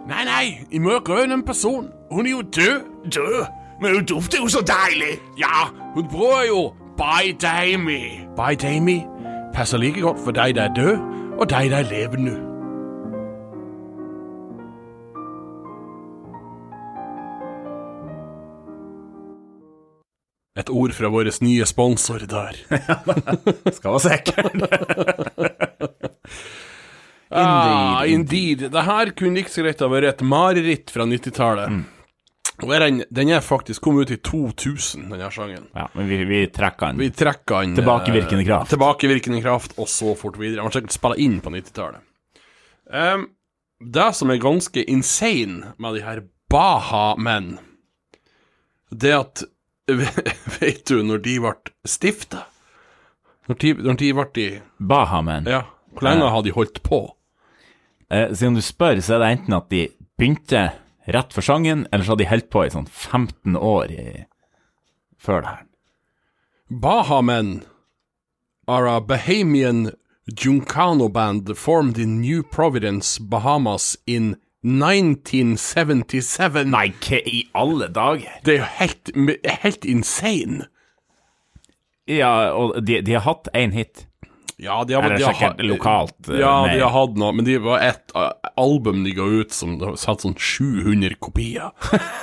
Nei, nei, jeg må jo gå en person. Hun er jo død. Død? Men hun dufter jo så deilig. Ja, hun bruker jo By Damey. By Damey passer like godt for deg der er død, og deg der er levende. Et ord fra vår nye sponsor der. Skal være sikker. Ah, indeed. Det her kunne ikke så greit ha vært et mareritt fra 90-tallet. Og er Den, den er faktisk kom ut i 2000, den her sangen. Ja, men vi, vi trekker den. Vi trekker den eh, Tilbakevirkende kraft. Tilbakevirkende kraft, og så fort videre. Den var sikkert spilla inn på 90-tallet. Ehm, det som er ganske insane med de her Baha-menn, det at Vet du når de ble stifta? Når de, når de ble de Bahamen. Ja, hvor lenge har de holdt på? Eh, siden du spør, så er det enten at de begynte rett for sangen, eller så har de holdt på i sånn 15 år i, før det her. Bahamen are a Bahamian Juncano band formed in New Providence, Bahamas in 1977. Nei, hva i alle dager? Det er jo helt, helt insane. Ja, og de, de har hatt én hit. Ja, de har, Eller de har, sikkert ha- lokalt, eh, Ja, de mer. har hatt noe, men det var et eh, album de ga ut som det satt sånn 700 kopier.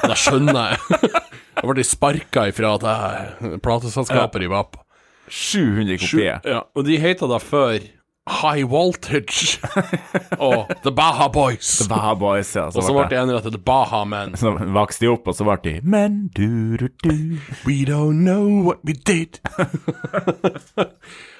Da skjønner jeg. Da ble de sparka ifra det her plateselskapet de var på. 700 kopier. Ja, og de heter da før High Voltage og The Baha Boys. Baha Boys, ja. Så, og så ble ble det enere til The Baha Men. så vokste de opp, og så ble de Men du, du, du. We don't know what we did.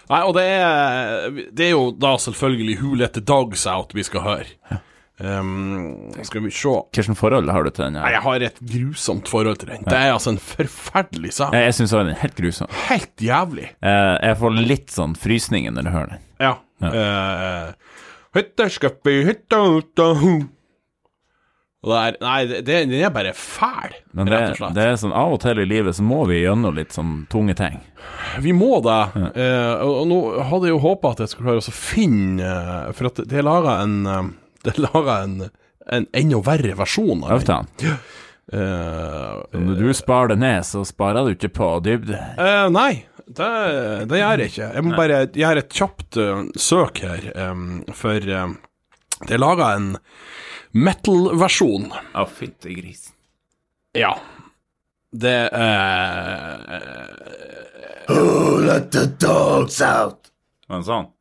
Nei, og det er, det er jo da selvfølgelig Who Let The Dogs Out vi skal høre. Um, skal vi se Hvilket forhold har du til den? Nei, her? jeg har et grusomt forhold til den. Det er altså en forferdelig sak. Jeg, jeg syns den er helt grusom. Helt jævlig. Eh, jeg får litt sånn frysninger når jeg hører den. Ja. Eh, Hytta skaffi, hytta uta ho. Og det er, nei, det, det, den er bare fæl, Men det, rett og slett. det er sånn av og til i livet så må vi gjennom litt sånn tunge ting. Vi må det. Eh, og, og nå hadde jeg jo håpa at jeg skulle klare å finne eh, For at det er laga en eh, Det er laga en en enda verre versjon av den. Øvtan. Eh, Når du sparer det ned, så sparer du ikke på dybde. eh, nei, det, det gjør jeg ikke. Jeg må bare gjøre et kjapt eh, søk her, eh, for eh, det er laga en metal-versjon. Å, fytti grisen. Ja. Det eh, Men sånn.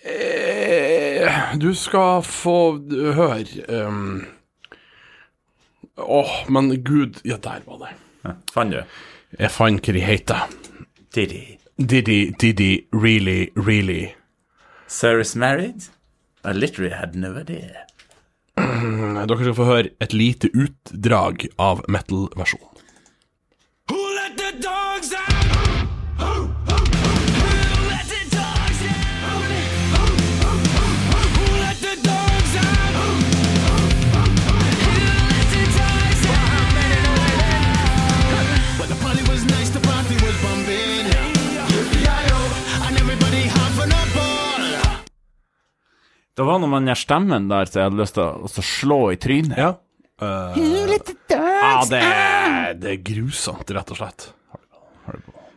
Eh, Du skal få høre ehm. Åh, men gud Ja, der var det. Fant du? Jeg fant hva de heter. Didi. Didi, Didi, really, really. Sir is married? I literally had no idea. Mm, Dere skal få høre et lite utdrag av metal-versjonen. Det var noe med den der stemmen der som jeg hadde lyst til å også slå i trynet. Ja. ja, det, er- det er grusomt, rett og slett.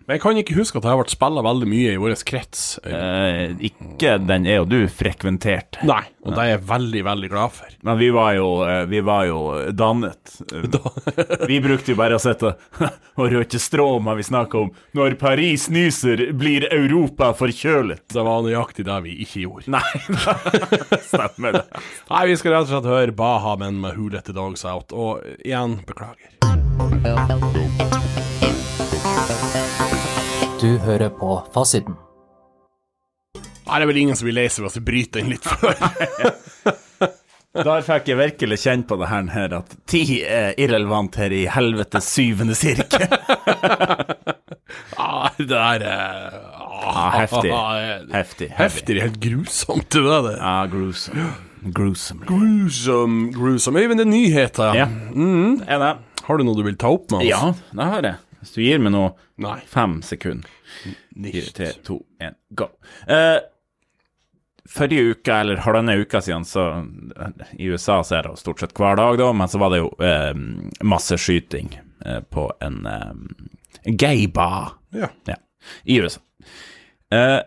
Men jeg kan ikke huske at det har vært spilla veldig mye i vår krets. Eh, ikke den jeg og du frekventerte. Nei, og det er jeg veldig, veldig glad for. Men vi var jo, eh, vi var jo dannet. Eh, vi brukte jo bare å sitte og røyke strå men vi snakka om 'Når Paris nyser, blir Europa forkjølet'. Det var nøyaktig det vi ikke gjorde. Nei, stemmer det. Nei, vi skal rett og slett høre Baha Men med Who Let The Dogs Out. Og igjen, beklager. Du hører på fasiten. Nei, Ah, det er vel ingen som blir lei seg hvis vi bryter inn litt før. Der fikk jeg virkelig kjenne på det her, her at tid er irrelevant her i helvetes syvende sirkel. ah, det der er ah, Ja, heftig. ah, det- Heftig. Heftig. det er Helt grusomt, det der. det. Ja, gruesome. Gruesome. Grusom, grusom. Øyvind, det er nyheter. Ja. Mm, Er det? Har du noe du vil ta opp med oss? Ja, det har jeg. Hvis du gir meg nå Nei. fem sekunder Fire, Nicht. tre, to, én, go. Eh, forrige uke, eller halvannen uke siden, så eh, I USA så er det jo stort sett hver dag, da, men så var det jo eh, masseskyting eh, på en eh, gaybar. Ja. Ja, i USA. Eh,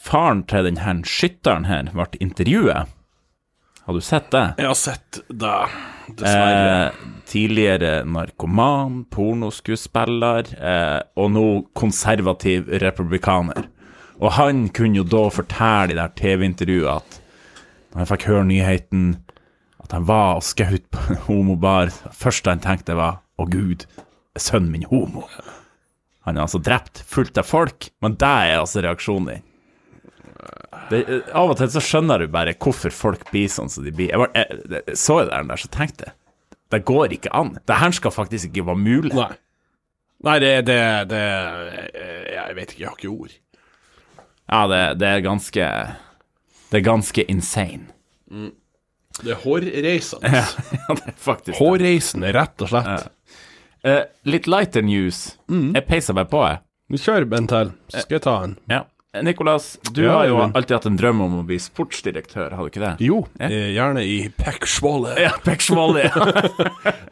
faren til den her skytteren her ble intervjuet. Har du sett det? Jeg har sett det, dessverre. Eh, tidligere narkoman, pornoskuespiller eh, og nå konservativ republikaner. Og han kunne jo da fortelle i det her TV-intervjuet at når han fikk høre nyheten at han var og skjøt på en homobar, det første han tenkte var 'Å, Gud, er sønnen min homo'? Han er altså drept, fullt av folk, men det er altså reaksjonen din. Det, av og til så skjønner du bare hvorfor folk blir sånn som de blir. Jeg, var, jeg, jeg så det der, så tenkte jeg det går ikke an. Det her skal faktisk ikke være mulig. Nei. Nei, det, det, det jeg- Jeg vet ikke, jeg har ikke ord. Ja, det, det er ganske Det er ganske insane. Det er hårreisende. Ja, det er faktisk det. Hårreisende, rett og slett. Eh, litt lighter news. Jeg peiser meg på, jeg. Vi kjører en til, så skal jeg ta en. Ja. Nicolas, du Ja, har jo Øyvind. alltid hatt en drøm om å bli sportsdirektør, har du ikke det? Jo, Ja. eh, gjerne i Peksvolle. Ja, Peksvolle.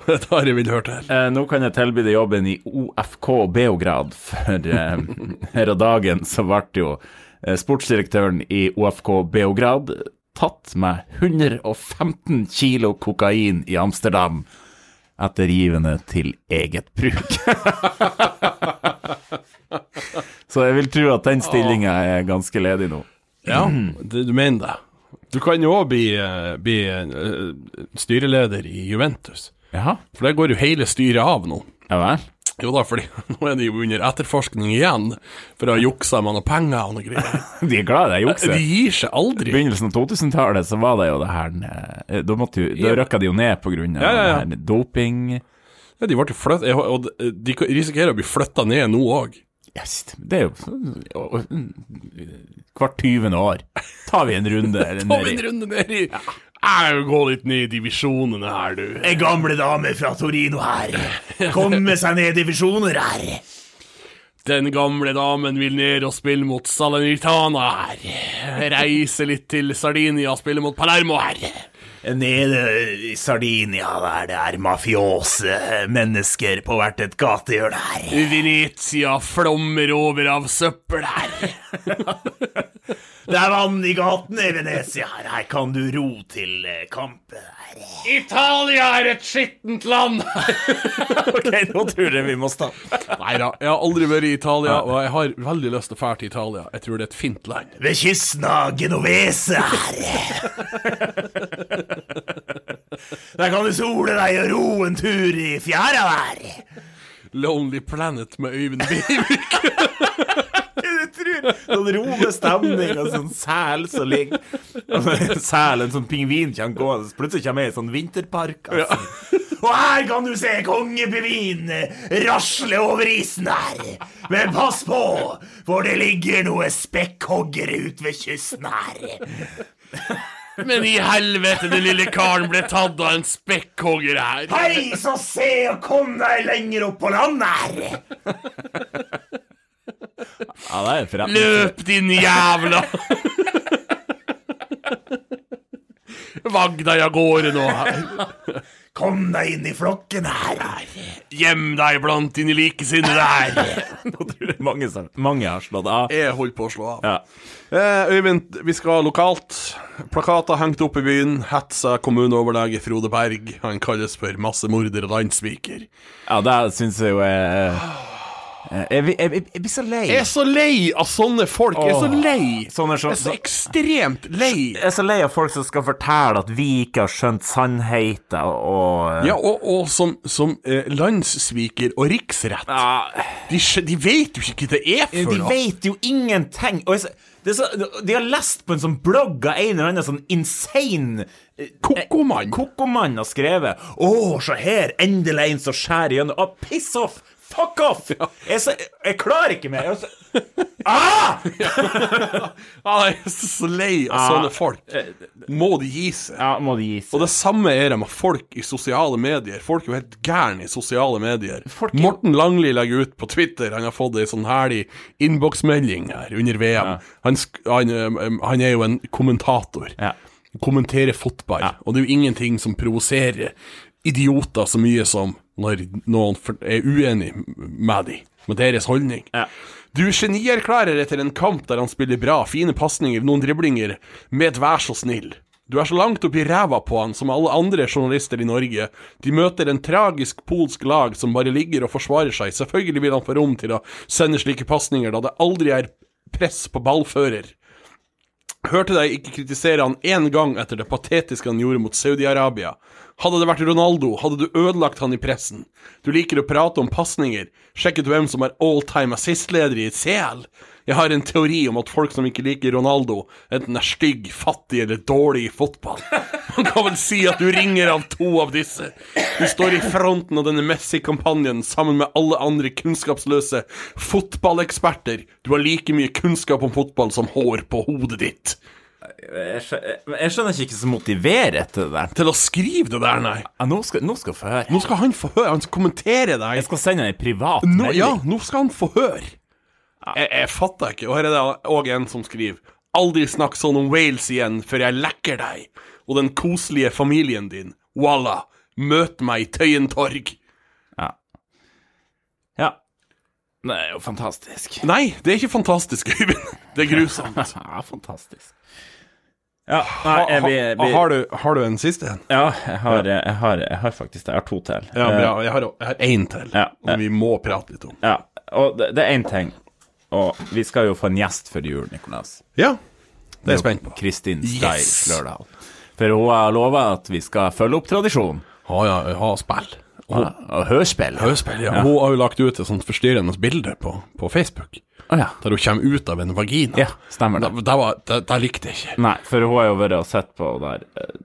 Det har jeg vel hørt her. Eh, nå kan jeg tilby deg jobben i OFK Beograd, for eh, her og dagen så ble jo eh, sportsdirektøren i OFK Beograd tatt med 115 kilo kokain i Amsterdam etter givende til eget bruk. så jeg vil tro at den stillinga er ganske ledig nå. Ja, det, du mener det. Du kan jo òg bli, eh, bli eh, styreleder i Juventus, Jaha, for der går jo hele styret av nå. ja vel? Jo da, fordi nå er de jo under etterforskning igjen for å ha juksa med noe penger og noe greier. De er glad i det De jukset. gir seg I aldri. begynnelsen av 2000-tallet så var det jo det her eh, Da, måtte jo- da røkka de jo ned på grunn av Ja, ja, ja. det her doping. Ja, de, ble jo flytt, eh, og de- de risikerer å bli flytta ned nå òg. Yes, det er jo og- og- Hvert tyvende år tar vi en runde. eller Ta en nedi. runde ned i Jeg vil gå litt ned i divisjonene her, du. Ei Eh, gamle dame fra Torino her. Komme seg ned i divisjoner her. Den gamle damen vil ned og spille mot Salernitana her. Reise litt til Sardinia og spille mot Palermo her. Nede i Sardinia der det er mafiose mennesker på hvert et gatehjørne her. Venezia flommer over av søppel her. Det er vann i gatene i Venezia her. Her kan du ro til eh, kampen her. Italia er et skittent land! Ok, nå tror jeg vi må stoppe. Nei da, jeg har aldri vært i Italia, og jeg har veldig lyst til å dra til Italia. Jeg tror det er et fint land. Ved kysten av Genovese her. Der kan du sole deg og ro en tur i fjæra der. Lonely Planet med Øyvind Bivik. Jeg tror Sånn roestemning og sånn sel som ligger og Sel, en sånn pingvin kommer gående, så plutselig kommer jeg i sånn vinterpark. Altså. Og her kan du se kongepingvinen rasle over isen her. Men pass på, for det ligger noe spekkhoggere ut ved kysten her. Men i helvete, den lille karen ble tatt av en spekkhogger her. Hei, så se og kom deg lenger opp på land her. Ja, det er forretning. Løp, din jævla Vagg deg av gårde nå. Kom deg inn i flokken her. Gjem deg blant dine likesinnede her. Nå tror jeg mange, som- mange har slått av. Jeg holder på å slå av. Ja. Eh, Øyvind, vi skal lokalt. Plakater hengt opp i byen. Hetsa kommuneoverlege Frode Berg. Han kalles for massemorder og landssviker. Ja, det syns jeg jo er eh, Jeg, blir- jeg, blir- jeg blir så lei. Jeg er så lei av sånne folk. Jeg er så lei. Sånne som- Jeg er så ekstremt lei. Jeg er så lei av folk som skal fortelle at vi ikke har skjønt sannheten og Ja, og, og som, som eh, landssviker og riksrett. De, skj- de vet jo ikke hva det er for De noe. vet jo ingenting. Og jeg, så- det er så, de har lest på en sånn blogg av en eller annen sånn insane eh, Kokomann. Kokomann har skrevet 'Å, se her, endelig en som skjærer gjennom'. Å, piss off! Fuck off! Jeg, er så, jeg klarer ikke mer. Jeg er så, ah! Ja, Ah, jeg er så lei av sånne folk. Må de gi seg? Ja, må det gis. Og det samme er det med folk i sosiale medier. Folk er jo helt gærne i sosiale medier. Folk er- Morten Langli legger ut på Twitter, han har fått ei sånn herlig innboksmelding her under VM. Han, sk- han, eh, han er jo en kommentator. Ja. kommentere fotball, og det er jo ingenting som provoserer idioter så mye som når noen for- er uenig med dem, med deres holdning. Du genierklærer etter en kamp der han spiller bra, fine pasninger, noen driblinger, med et vær så snill. Du er så langt oppi ræva på han som alle andre journalister i Norge. De møter en tragisk polsk lag som bare ligger og forsvarer seg. Selvfølgelig vil han få rom til å sende slike pasninger, da det aldri er press på ballfører. Hørte deg ikke kritisere han én gang etter det patetiske han gjorde mot Saudi-Arabia. Hadde det vært Ronaldo, hadde du ødelagt han i pressen. Du liker å prate om pasninger. Sjekket hvem som er all time assist-leder i CL? Jeg har en teori om at folk som ikke liker Ronaldo, enten er stygg, fattig eller dårlig i fotball. Man kan vel si at du ringer av to av disse. Du står i fronten av denne Messi-kampanjen sammen med alle andre kunnskapsløse fotballeksperter. Du har like mye kunnskap om fotball som hår på hodet ditt. Jeg, skjønner, jeg skjønner ikke hva som motiverer til det der. Til å skrive det der, nei. Ja, nå skal nå skal jeg få høre. Nå skal han få høre. Han skal kommentere Jeg deg. skal sende en privat Nå, melding. ja, nå skal han få høre. Jeg, jeg fatter ikke. Og her er det òg en som skriver. Aldri snakk sånn om Wales igjen før jeg lekker deg og den koselige familien din. Walla, møt meg i Tøyen torg. Ja. Det er jo fantastisk. Nei, det er ikke fantastisk, Øyvind. Det er grusomt. Ja, fantastisk. Ja, nei, jeg, vi, Ha- vi, ha- har, du, har du en siste en? ja jeg, har, jeg, har, jeg har faktisk det. Jeg har to til. Ja, bra. Jeg har jeg har én til, Eh. ja, eh. ja. som vi må prate litt om. Ja, og det, det er én ting. Og vi skal jo få en gjest før jul, Nikolas. Ja, det er jeg spent på. Kristin Yes. Steils Lørdal. For hun har lova at vi skal følge opp tradisjonen. Ha, ja, ha spill. Og, og hørspill. Høyspill, ja. Hun har jo lagt ut et sånt forstyrrende bilde på, på Facebook, Å ja. der hun kommer ut av en vagina. ja. Stemmer Da, det. da, var, da, da likte jeg ikke. Nei, for hun har jo vært og sett på der eh,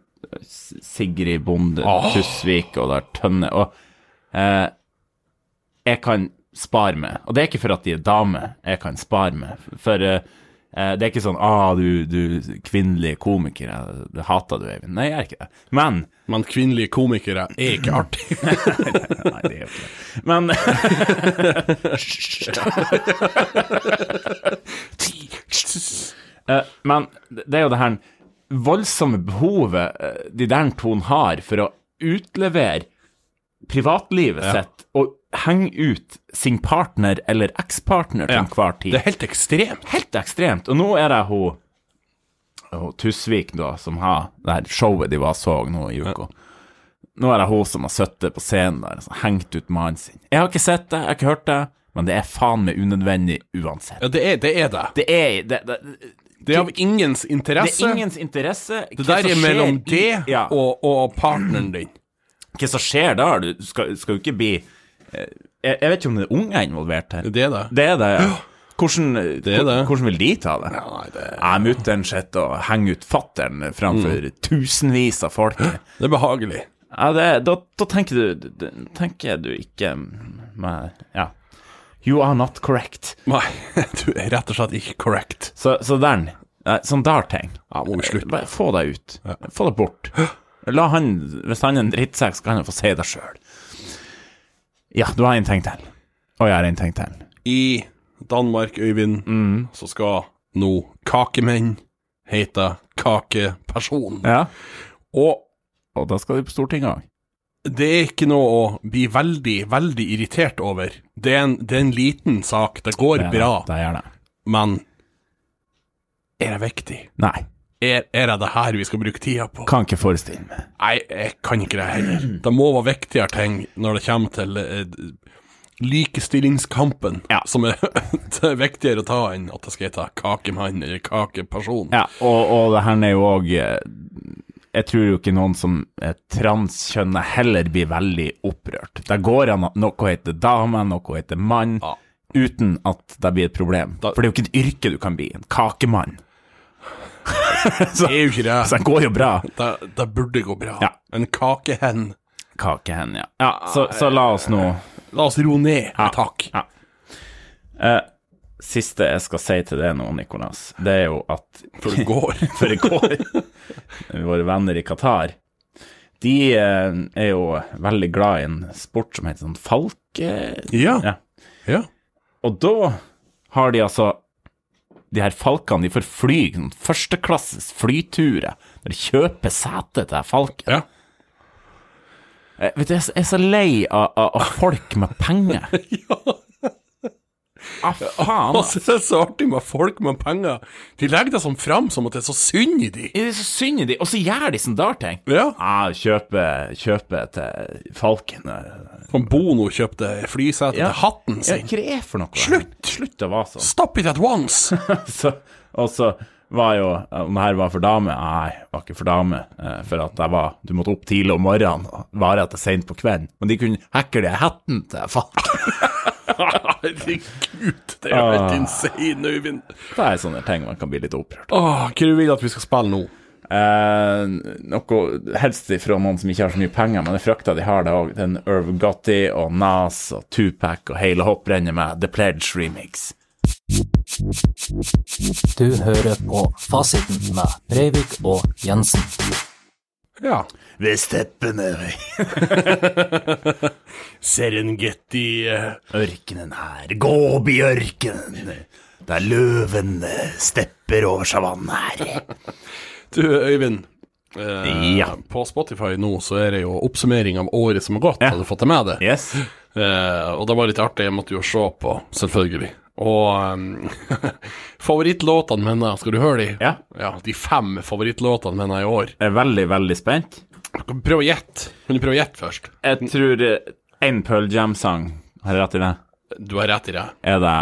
S- Sigrid Bonde Åh. Tusvik og der Tønne og eh, jeg kan spare meg. Og det er ikke for at de er damer jeg kan spare meg, for eh, Eh, Det er ikke sånn ah, du, du kvinnelige komikere, det hater du, Eivind. Nei, jeg er ikke det. Men Men kvinnelige komikere er ikke artig. Nei, det er jo ikke det. Men Eh, Men det er jo det her voldsomme behovet eh, de der to har for å utlevere privatlivet sitt og henge ut sin partner eller ekspartner til enhver tid. Det er helt ekstremt. Helt ekstremt. Og nå er det hun, hun Tusvik, da, som har det her showet de var og så nå i uka. Nå er det hun som har sittet på scenen der og hengt ut mannen sin. Jeg har ikke sett det, jeg har ikke hørt det, men det er faen meg unødvendig uansett. Ja, det er det. Er det. Det er det, det, det er av ingens det interesse. er ingens interesse. Det der er mellom det ja. og, og partneren din. Hva som skjer der? Du skal, skal jo ikke bli eh, jeg, jeg vet ikke om det er unger involvert her. Det er det. Det er det, ja. Hvordan, er det. hvordan vil de ta det? nei, det er- Jeg mutter'n sitter og henger ut fatter'n framfor Mm. tusenvis av folk. Ja, Det er behagelig. det, da, da tenker du du- du- Tenker du ikke med, Ja. You are not correct. Nei, du er rett og slett ikke correct. Så, så den eh, Sånn der ting. Ja, må vi slutte. Eh, Bare få deg ut. Få deg bort. La han, Hvis han er en drittsekk, så kan han få si det sjøl. Ja, du har en ting til. Og jeg har en ting til. I Danmark, Øyvind, så skal nå kakemenn hete kakeperson. Ja. Og Og da skal du på Stortinget òg. det er ikke noe å bli veldig, veldig irritert over. Det er en, det er en liten sak, det går bra, Det gjør det. men er det viktig? Nei. Er, er det det her vi skal bruke tida på? Kan ikke forestille meg. Nei, jeg kan ikke det heller. Det må være viktigere ting når det kommer til eh, d- likestillingskampen, Ja. som er, det er viktigere å ta enn at det skal hete kakemann eller kakeperson. Ja, og, og det her er jo òg Jeg tror jo ikke noen som er transkjønna heller blir veldig opprørt. Det går an at noe heter dame, noe heter mann, Ja. uten at det blir et problem. For det er jo ikke et yrke du kan bli. En kakemann. Det er jo ikke det. Så det går jo bra. Det, det burde gå bra. Ja. En kakehen. Kakehen, ja. ja så, så la oss nå La oss roe ned, takk. Ja. Eh, siste jeg skal si til det nå, Nikolas, det er jo at For det går. for i går. Våre venner i Qatar. De eh, er jo veldig glad i en sport som heter sånn falke... ja. Ja. ja. Og da har de altså De her falkene de får fly sånn førsteklasses flyturer. Der de kjøper sete til falken. Ja. Eh, vet du, jeg er så- jeg er så lei av, av, av folk med penger. Ah, faen. ass. Altså, det er så artig med folk med penger. De legger det sånn fram som at det er så synd i de. Det er så synd i de, og så gjør de sånn darting. Ja. Ah, kjøpe, kjøpe til falken. eh, Som Bono kjøpte flysete Ja. til hatten Ja, sin. hva det er for noe? Slutt! Slutt å være sånn. Stop it at once! Så, og så var jo Om det her var for dame? Nei, det var ikke for dame. eh, For at jeg var Du måtte opp tidlig om morgenen og vare til seint på kvelden. Men de kunne hacke det i hatten til falken. Herregud, det er jo helt insane, Øyvind. Det er sånne ting man kan bli litt opprørt av. Åh, Ah, hva du vil at vi skal spille nå? Eh, noe helst ifra noen som ikke har så mye penger, men jeg frykter de har det òg. Den Irv Gotti og Nas og Tupac og hele hopprennet med The Pledge Remix. Du hører på Fasiten med Breivik og Jensen. Ja. Ved steppene Serengeti eh, ørkenen her, gå opp i ørkenen, der løven stepper over savannen her. Du, Øyvind. eh, Ja. På Spotify nå så er det jo oppsummering av året som har gått. Har du fått det med deg? Yes. Eh, og det var litt artig, jeg måtte jo se på, selvfølgelig. Og um, favorittlåtene mine, skal du høre de? Ja. De fem favorittlåtene mine i år. Jeg er veldig, veldig spent. Prøv å gjette. Kan du prøve å gjette først? Jeg tror en Pearl Jam-sang, har jeg rett i det? Du har rett i det. Er det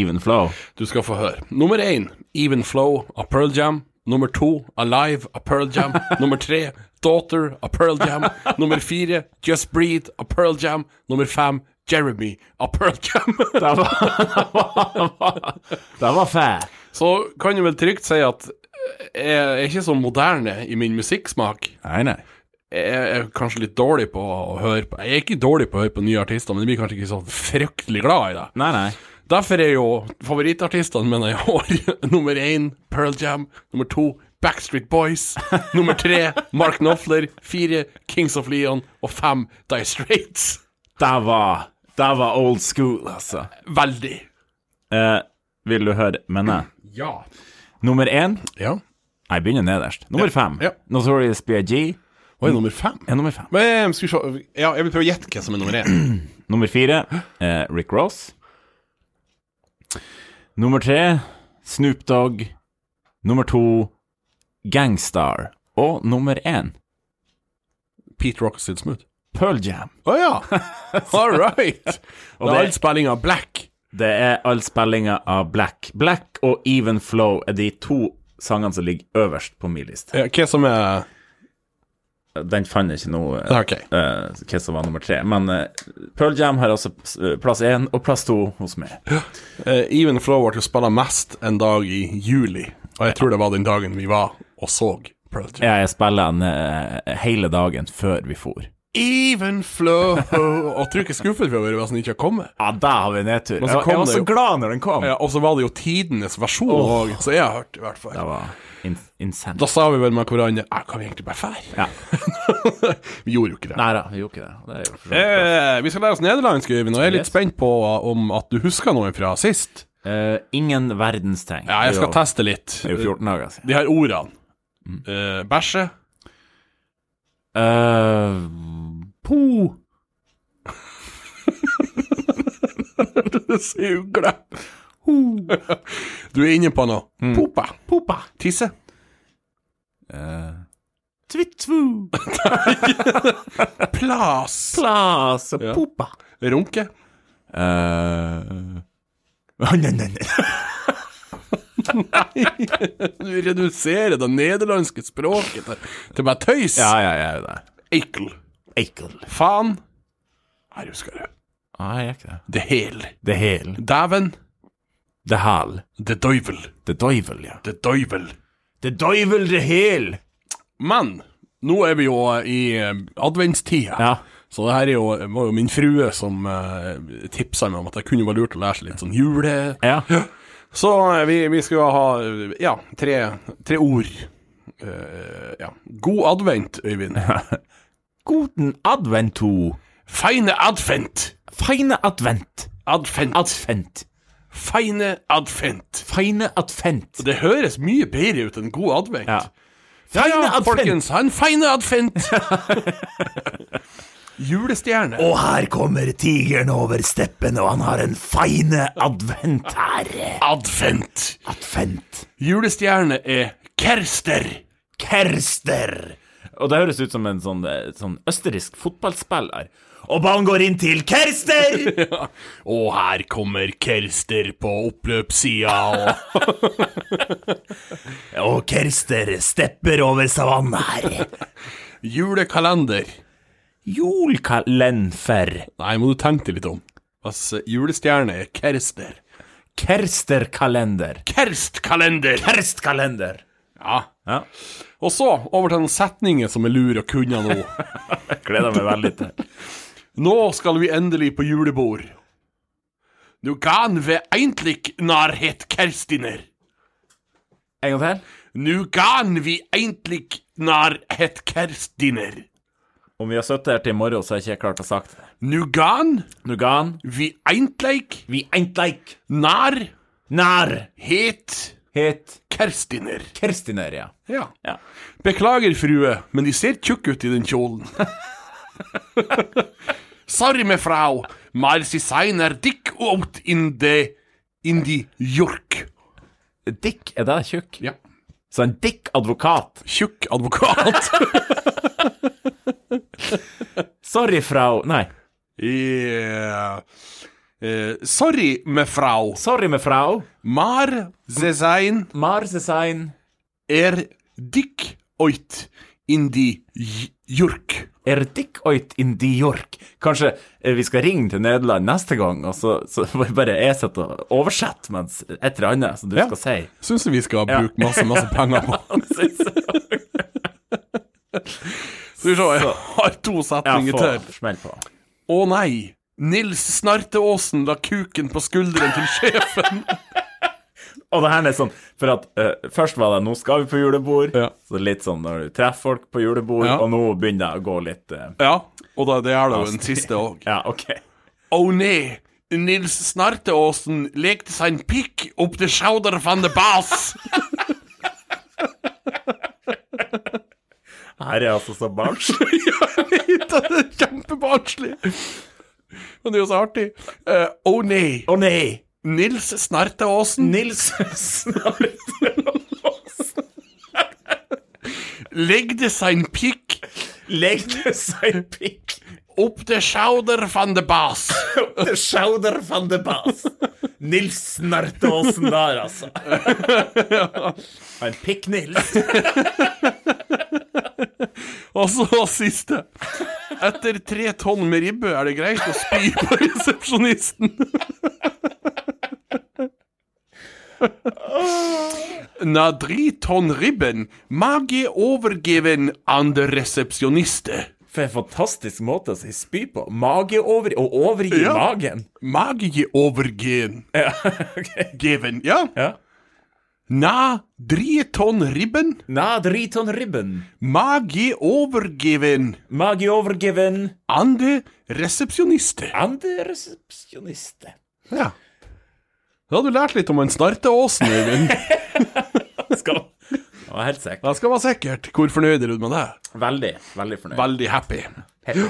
Even Flow? Du skal få høre. Nummer én, Even Flow av Pearl Jam. Nummer to, Alive av Pearl Jam. Nummer tre, Daughter av Pearl Jam. Nummer fire, Just Breathe av Pearl Jam. Nummer fem, Jeremy av Pearl Jam. Det var, det var, det var fair. Så kan du vel trygt si at jeg er ikke så moderne i min musikksmak. Nei, nei. Jeg er kanskje litt dårlig på å høre på Jeg er ikke dårlig på å høre på nye artister, men jeg blir kanskje ikke så fryktelig glad i det. Nei, nei. Derfor er jo favorittartistene mine i år nummer én Pearl Jam, nummer to Backstreet Boys, nummer tre Mark Knopfler, fire Kings of Leon og fem Die Straits. Der var, der var old school, altså. Veldig. Eh, vil du høre mine? Ja. Nummer én Ja. Jeg begynner nederst. Nummer fem. ja. Notorious BIG Hva er nummer fem? er nummer fem. Men, skal vi se Ja, jeg vil prøve å gjette hva som er nummer én. Nummer fire eh, Rick Ross. Nummer tre Snoop Dogg. Nummer to Gangstar. Og nummer én Pete Rock og Sid Smooth. Pearl Jam. Å ja. All right. Og det er det- all spilling av Black. Det er all spillinga av Black. Black og Even Flow er de to sangene som ligger øverst på min liste. Ja, Hva som er Den fant jeg ikke nå, eh, OK. eh, hva som var nummer tre. Men eh, Pearl Jam har altså eh, plass én og plass to hos meg. Eh, Even Flow ble spilla mest en dag i juli, og jeg tror det var den dagen vi var og så Pearl Jam. Ja, jeg spiller den eh, hele dagen før vi for. Even Flow! Og tror ikke skuffet vi har vært hvis den ikke har kommet. Ja, da har vi nedtur. så Jeg, kom jeg var det så jo- glad når den kom. Ja, og så var det jo tidenes versjon òg, så jeg har hørt, i hvert fall. Det var in insane. Da sa vi vel med hverandre «Ja, Kan vi egentlig bare fære? Ja. vi gjorde jo ikke det. Nei da, vi gjorde ikke det. det er jo for så vidt bra. Eh, vi skal lære oss nederlandsk, Øyvind, og jeg er litt Yes. spent på uh, om at du husker noe fra sist. Eh, ingen verdens ting. Ja, jeg skal Det er jo- teste litt. Det er jo 14 dager siden. De her ordene. Mm. Eh, bæsje. Eh, po. Si ugle. Du er inne på noe. Popa. Mm. Popa. Tisse. Tvitvu. Plas. Plas. Popa. Runke. Eh, Nei, nei, nei. Du reduserer det nederlandske språket til, til bare tøys. Ja, ja, jeg er jo det. Eikel. Eikel. Faen. Her husker du. Nei, jeg er ikke det. Det hel. Det hel. Dæven. Det hal. Det døyvel. Det døyvel, ja. Det døyvel. Det døyvel, det hel. Men nå er vi jo i eh, adventstida. Ja. Så det her er jo, var jo min frue som uh, tipsa meg om at jeg kunne være lurt å lære seg litt sånn jule... Ja. Så eh, vi, vi skal jo ha eh, ja, tre, tre ord. Eh, ja. God advent, Øyvind. Guten advento. Feine advent. Feine advent. Advent. Advent. Feine advent. Feine advent. Det høres mye bedre ut enn god advent. Ja. Ja, ja, Feine advent. folkens, ha en feine advent! Julestjerne. Og her kommer tigeren over steppen, og han har en feine advent her. Advent. Advent. Julestjerne er kerster. Kerster. Og det høres ut som en sånn, eh, sånn østerriksk fotballspiller. Og ballen går inn til Kerster! Og her kommer kerster på oppløpssida og og Kerster stepper over savannen her. Julekalender. Julkalenfer. Nei, må du tenke deg litt om. Altså, julestjerne er kerster. Kersterkalender. Kerstkalender! Kerstkalender. Ja. Ja. Og så over til den setningen som er lur å kunne nå. Gleder meg veldig til. Nå skal vi endelig på julebord. Du kan ve egentlig nærhet kerstiner. En gang til. Nu kan vi egentlig nærhet kerstiner. Om vi har sittet her til i morgen, så har jeg ikke klart å sagt det. Nu kan Nå ga han. vi egentlig Vi entleik nærhet nær het kerstiner. Kerstiner, ja. Ja. Ja. Beklager, frue, men de ser tjukke ut i den kjolen. Sorry, med frau, mal sie seiner dick out in the in the York. Dick, er det tjukk? Ja. Så en dick advokat. Tjukk advokat. Sorry, frau Nei. yeah. Eh, sorry, med frau, Sorry, med frau. mar sie sein Marsesein er dick out in the J- York. er dick oit in de York. Kanskje eh, vi skal ringe til Nederland neste gang, og så, så får vi bare jeg sitter og oversetter mens et eller annet som du Ja. skal si. Syns du vi skal bruke masse, masse penger på Skal vi se, jeg har to Ja, setninger få til. smell på. Å nei, Nils Snarteåsen la kuken på skulderen til sjefen. Og det her er sånn, for at eh, først var det 'nå skal vi på julebord', Ja. så litt sånn når du treffer folk på julebord, Ja. og nå begynner det å gå litt eh, Ja, og da, det er da den siste òg. Ja, OK. Å nei, Nils Snarteåsen lekte seg en pikk opp til Schauder van de Bas. Her er altså så barnslig. ja, jeg vet at det er kjempebarnslig. Men det er jo så artig. Eh, Å nei, Å nei! Nils Snarteåsen Nils Snartelåsen legde seg en pikk legde seg pikk opp til Schauder van de Bas. opp til Schauder van de Bas. Nils Snartelåsen der, altså. En pikk-Nils. Og så siste. Etter tre tonn med ribbe er det greit å spy på resepsjonisten. Na dri tonn ribben, mage overgeven an de resepsjoniste. For en fantastisk måte å si spy på. Mage over og overgi Ja. magen. Mage overgen. Ja, ok. Geven, ja. Ja. Na dri tonn ribben, Na driton ribben. mage overgeven Mage overgiven. an de resepsjoniste. Ande resepsjoniste. Ja. Da har du lært litt om en snarteåsen, Øyvind. Skal Jeg var helt sikker. Da skal man sikkert Hvor fornøyd er du med det? Veldig, veldig fornøyd. Veldig happy. Happy.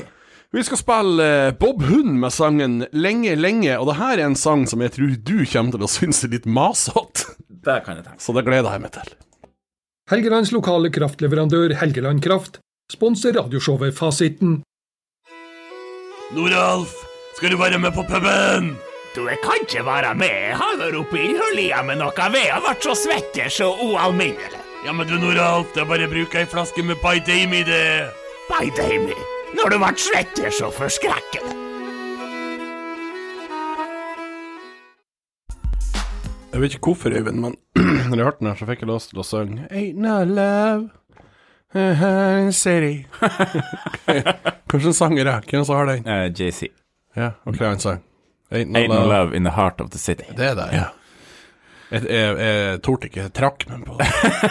Vi skal spille eh, Bob Hund med sangen Lenge, lenge, og det her er en sang som jeg tror du kommer til å synes er litt masete. Det kan jeg tenke. Så det gleder jeg meg til. Helgelands lokale kraftleverandør Helgeland Kraft sponser radioshowet Fasiten. Noralf, skal du være med på puben? Du, jeg kan ikke være med. Jeg har vært oppe i hullia med noe ved. Jeg har vært så svett jeg er så ualminnelig. Ja, men du, Noralf, det er bare å bruke ei flaske med By Damey, det. By Damey? Når du ble svett jeg er så forskrekkende. Jeg vet ikke hvorfor, Øyvind, men når jeg hørte den her, så fikk jeg lyst til å synge Ain't no love in the city. Kanskje en sanger er Hvem som har den? Eh, JC. Ja, ok, en sang. Ain't no Ain't no love. love in the heart of the city. Det er det, ja. Jeg, jeg, jeg torde ikke, jeg trakk meg på det.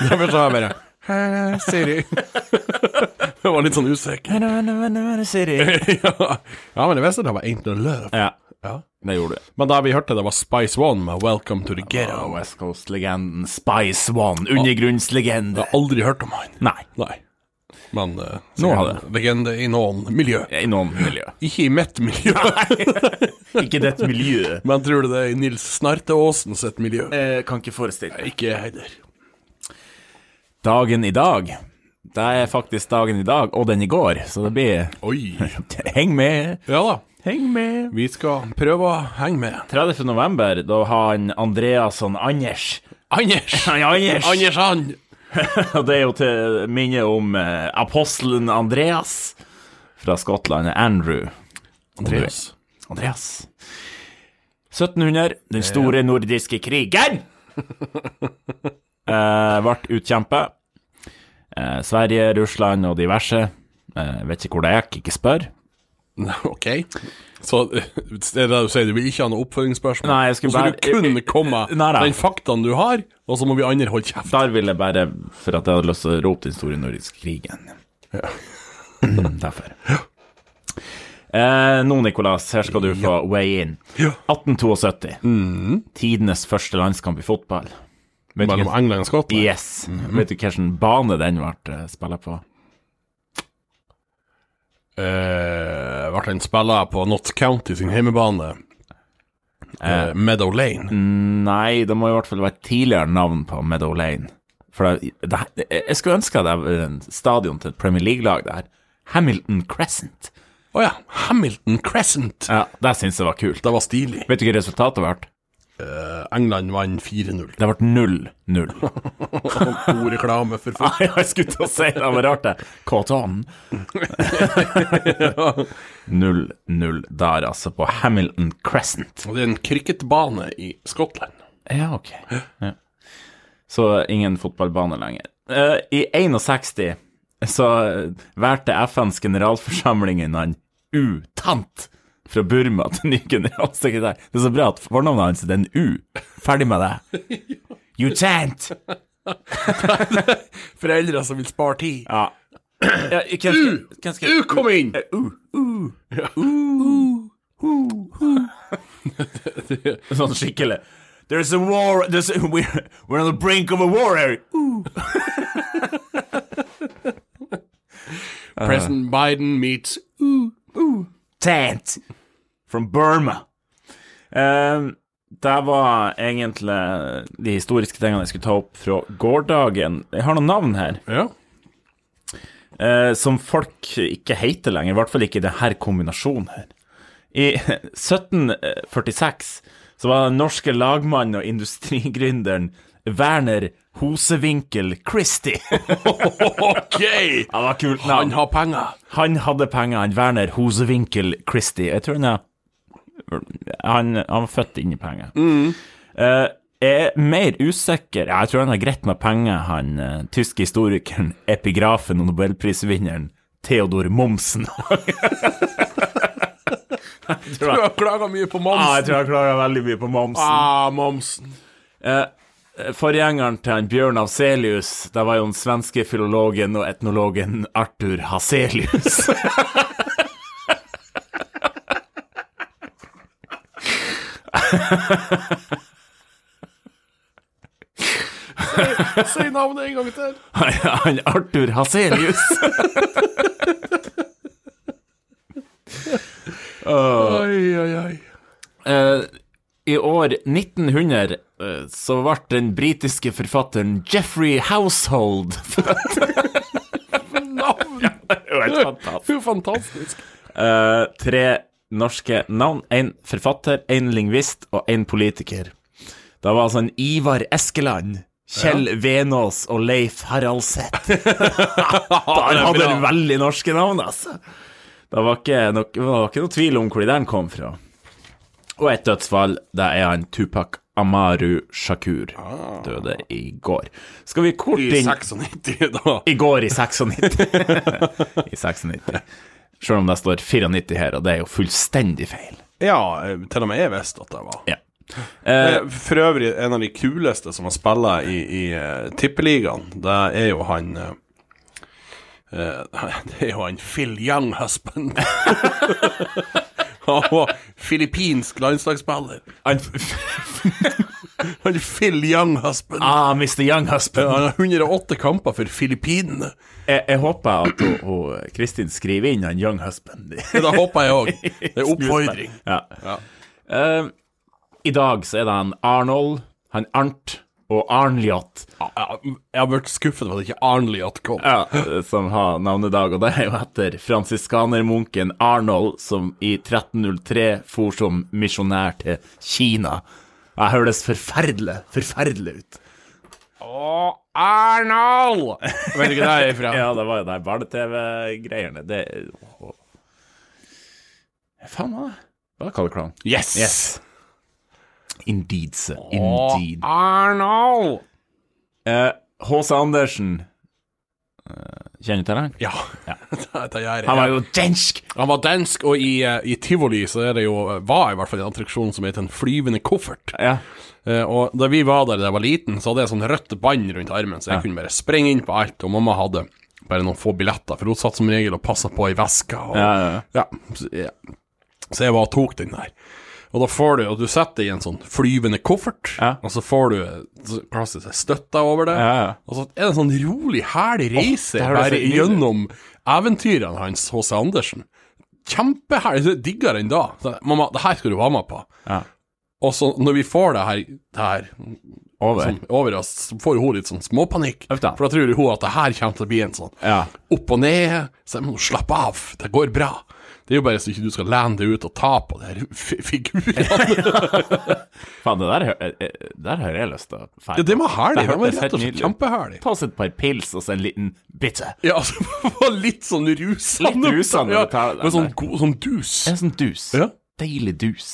Derfor sa jeg bare «Hey, Siri. Jeg var litt sånn usikker. ja, Ja, men jeg visste det var Ain't No Love. Ja, Ja. det gjorde du. Men da vi hørte det var Spice One med Welcome to the Ja, Ghetto. West Coast-legenden Spice One, undergrunnslegende. Jeg Ah. har aldri hørt om han. Nei, Nei. Men eh, Nå sikkert har det. legende i noen miljø. i noen miljø. Ikke i mitt miljø, Ikke ditt miljø. men tror du det er i Nils Snarteåsen sitt miljø? Eh, kan ikke forestille meg. Ikke jeg heller. Dagen i dag. Det er faktisk dagen i dag, og den i går, så det blir Oi. Heng med, Ja da. heng med. Vi skal prøve å henge med. 30. november, da har han Andreas og Anders Anders! Han Anders! Anders han! Og det er jo til minne om eh, apostelen Andreas fra Skottland, Andrew. Andreas. Andreas. 1700, den store nordiske krigen, eh, ble utkjempa. Eh, Sverige, Russland og diverse. Eh, vet ikke hvor det gikk, ikke spør. Ok. Så eh, det er det du sier, du vil ikke ha noe oppfølgingsspørsmål? Nei, jeg skulle Nå skal bare- du kun komme Nei, nei. den faktaen du har, og så må vi andre holde kjeft. Der ville jeg bare, for at jeg hadde lyst til å rope den store nordiske krigen. Mm, Derfor. Eh, nå, Nikolas, her skal du få weigh in. Ja. Mm. 1872. Tidenes første landskamp i fotball. Vet du Mellom hva- England og Skottland? Yes. Mm-hmm. Vet du hvilken bane den ble spilt på? Eh, ble han spilla på Notts County sin hjemmebane? Eh, Meadow Lane? Mm. Nei, det må i hvert fall være et tidligere navn på Meadow Lane. For det, det, jeg skulle ønske det var en stadion til et Premier League-lag der. Hamilton Crescent. Å ja, Hamilton Crescent. Ja, det syns jeg var kult. Det var stilig. Vet du hva resultatet ble? Eh, England vant 4-0. Det ble 0-0. Sånn God reklame for fotball. Nei, jeg skulle til å si det, det var rart det. Cotton. 0-0 der, altså, på Hamilton Crescent. Og Det er en cricketbane i Skottland. Ja, ok. Ja. Så ingen fotballbane lenger. Eh, I 61 så valgte FNs generalforsamling en annen utant fra Burma til ny generalsekretær. Det er så bra at fornavnet hans er en U. Ferdig med det. You can't! Foreldre som vil spare tid. Ja. U! Du, kom inn! Eh. Sånn skikkelig. There's a war there's a, we're, we're on the brink of a war here. President Biden meets Tent from Burma. Um, det var egentlig eh, de historiske tingene jeg skulle ta opp fra gårsdagen. Jeg har noen navn her Ja. eh, som folk ikke heter lenger, i hvert fall ikke i denne kombinasjonen her. I 1746 så var den norske lagmannen og industrigründeren Werner Hosevinkel Christie. OK! Det var kult Han navn. har penger. Han hadde penger, han Werner Hosevinkel Christie. Jeg tror han er Han, han var født inn i penger. Eh, jeg er mer usikker ja, Jeg tror han har greit med penger, han eh, tyske historikeren, epigrafen og nobelprisvinneren Theodor Momsen. Du har klaga mye på Ah, jeg momsen. tror han klarer veldig mye på Momsen. Ah, momsen. Forgjengeren til han Bjørn Afselius, det var jo den svenske filologen og etnologen Arthur Haselius. Si navnet en gang til. Han- Han Arthur Haselius. Oi, oi, oi. Eh, I år 1900 eh, så ble den britiske forfatteren Jeffrey Household født. Navn. fantastisk. Jo, fantastisk. Eh, tre norske navn. Én forfatter, én lingvist og én politiker. Det var altså en Ivar Eskeland. Kjell Venås og Leif Haraldseth. Der hadde du veldig norske navn, altså. Det var ikke noe, det var ikke noe tvil om hvor de der kom fra. Og et dødsfall, det er han Tupac Amaru Shakur. Døde i går. Skal vi kort I inn 96, da. i går i 96. I 96. Selv om det står 94 her, og det er jo fullstendig feil. Ja, eh, til og med jeg visste at det var. Ja. Eh, For øvrig, en av de kuleste som har spilla i, i eh, Tippeligaen, det er jo han eh, eh, Det er jo han Phil Young-husband. Han var filippinsk landslagsspiller. Han, Han Phil Young-husband. ah, Mr. Young Husband. Han har 108 kamper for Filippinene. Jeg, jeg håper at hun, hun, Kristin skriver inn han Young Husband. Det da håper jeg òg. Det er oppfordring. Ja. Eh, I dag så er det han Arnold, han Arnt og Arnljot Jeg har vært skuffet over at ikke Arnljot kom. ja, eh, som har navnedag, og det er jo etter fransiskanermunken Arnold, som i 1303 for som misjonær til Kina. Det høres forferdelig, forferdelig ut. Arnold! Vet du ikke det er ifra? Ja, det var jo de barne-TV-greiene. Det Åh. Faen, hva er det? Hva er Kalle Klang? Yes! Yes. Indeed, sir. Indeed. Arnold! Eh, H.C. Andersen Eh, Kjenner du til han? Ja, det gjør jeg. Han var jo dansk! Han var dansk, og i, eh, i tivoli så er det jo, eh, var i hvert fall en attraksjon som het En flyvende koffert. Ja. Eh, og da vi var der da jeg var liten, så hadde jeg sånn rødt bånd rundt armen, så jeg kunne bare sprenge inn på alt. Og mamma hadde bare noen få billetter, for hun satt som regel og passa på i veska. Og, Ja, ja, så, ja. så jeg var og tok den der. Og da får du, og du setter i en sånn flyvende koffert, Ja. og så får du eh, så klassisk støtta over det. Ja, ja. Og så er det en sånn rolig, herlig reise det høres bare helt nydelig ut. gjennom eventyrene hans, H.C. Andersen. Kjempeherlig. så Jeg digger den da. Så, Mamma, det her skal du være med på. Ja. Og så når vi får det her, det her Over. som, over oss, så får hun litt sånn småpanikk. Uff da. For da tror hun at det her kommer til å bli en sånn Ja. opp og ned. Så jeg må slappe av, det går bra. Det er jo bare så ikke du skal lene deg ut og ta på de her fi- figurene. Faen, det der, hø- eh, eh, der har jeg lyst til å feire. ja, det var herlig. Det var hørtes helt rett og slett nydelig ut. kjempeherlig. Ta oss et par pils og så en liten bitte. Ja, altså, det var litt sånn rusende. Litt rusende Ja, å ta den men sånn, der. god, sånn dus. En sånn dus. Ja. Deilig dus.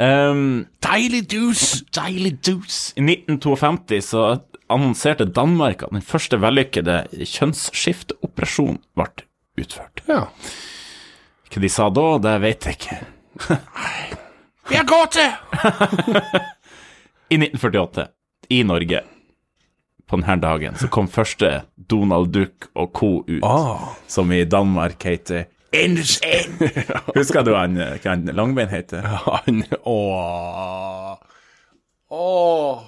Um, Deilig dus! deilig dus. I 1952 så annonserte Danmark at den første vellykkede kjønnsskifteoperasjonen ble utført. Ja. Hva de sa da, det vet jeg ikke. Vi har gåte! I 1948, i Norge, på denne dagen, så kom første Donald Duck og co. ut, Ah. som i Danmark heter Ensen. Husker du han, eh, hva han Langbein heter? Han Åh. Åh.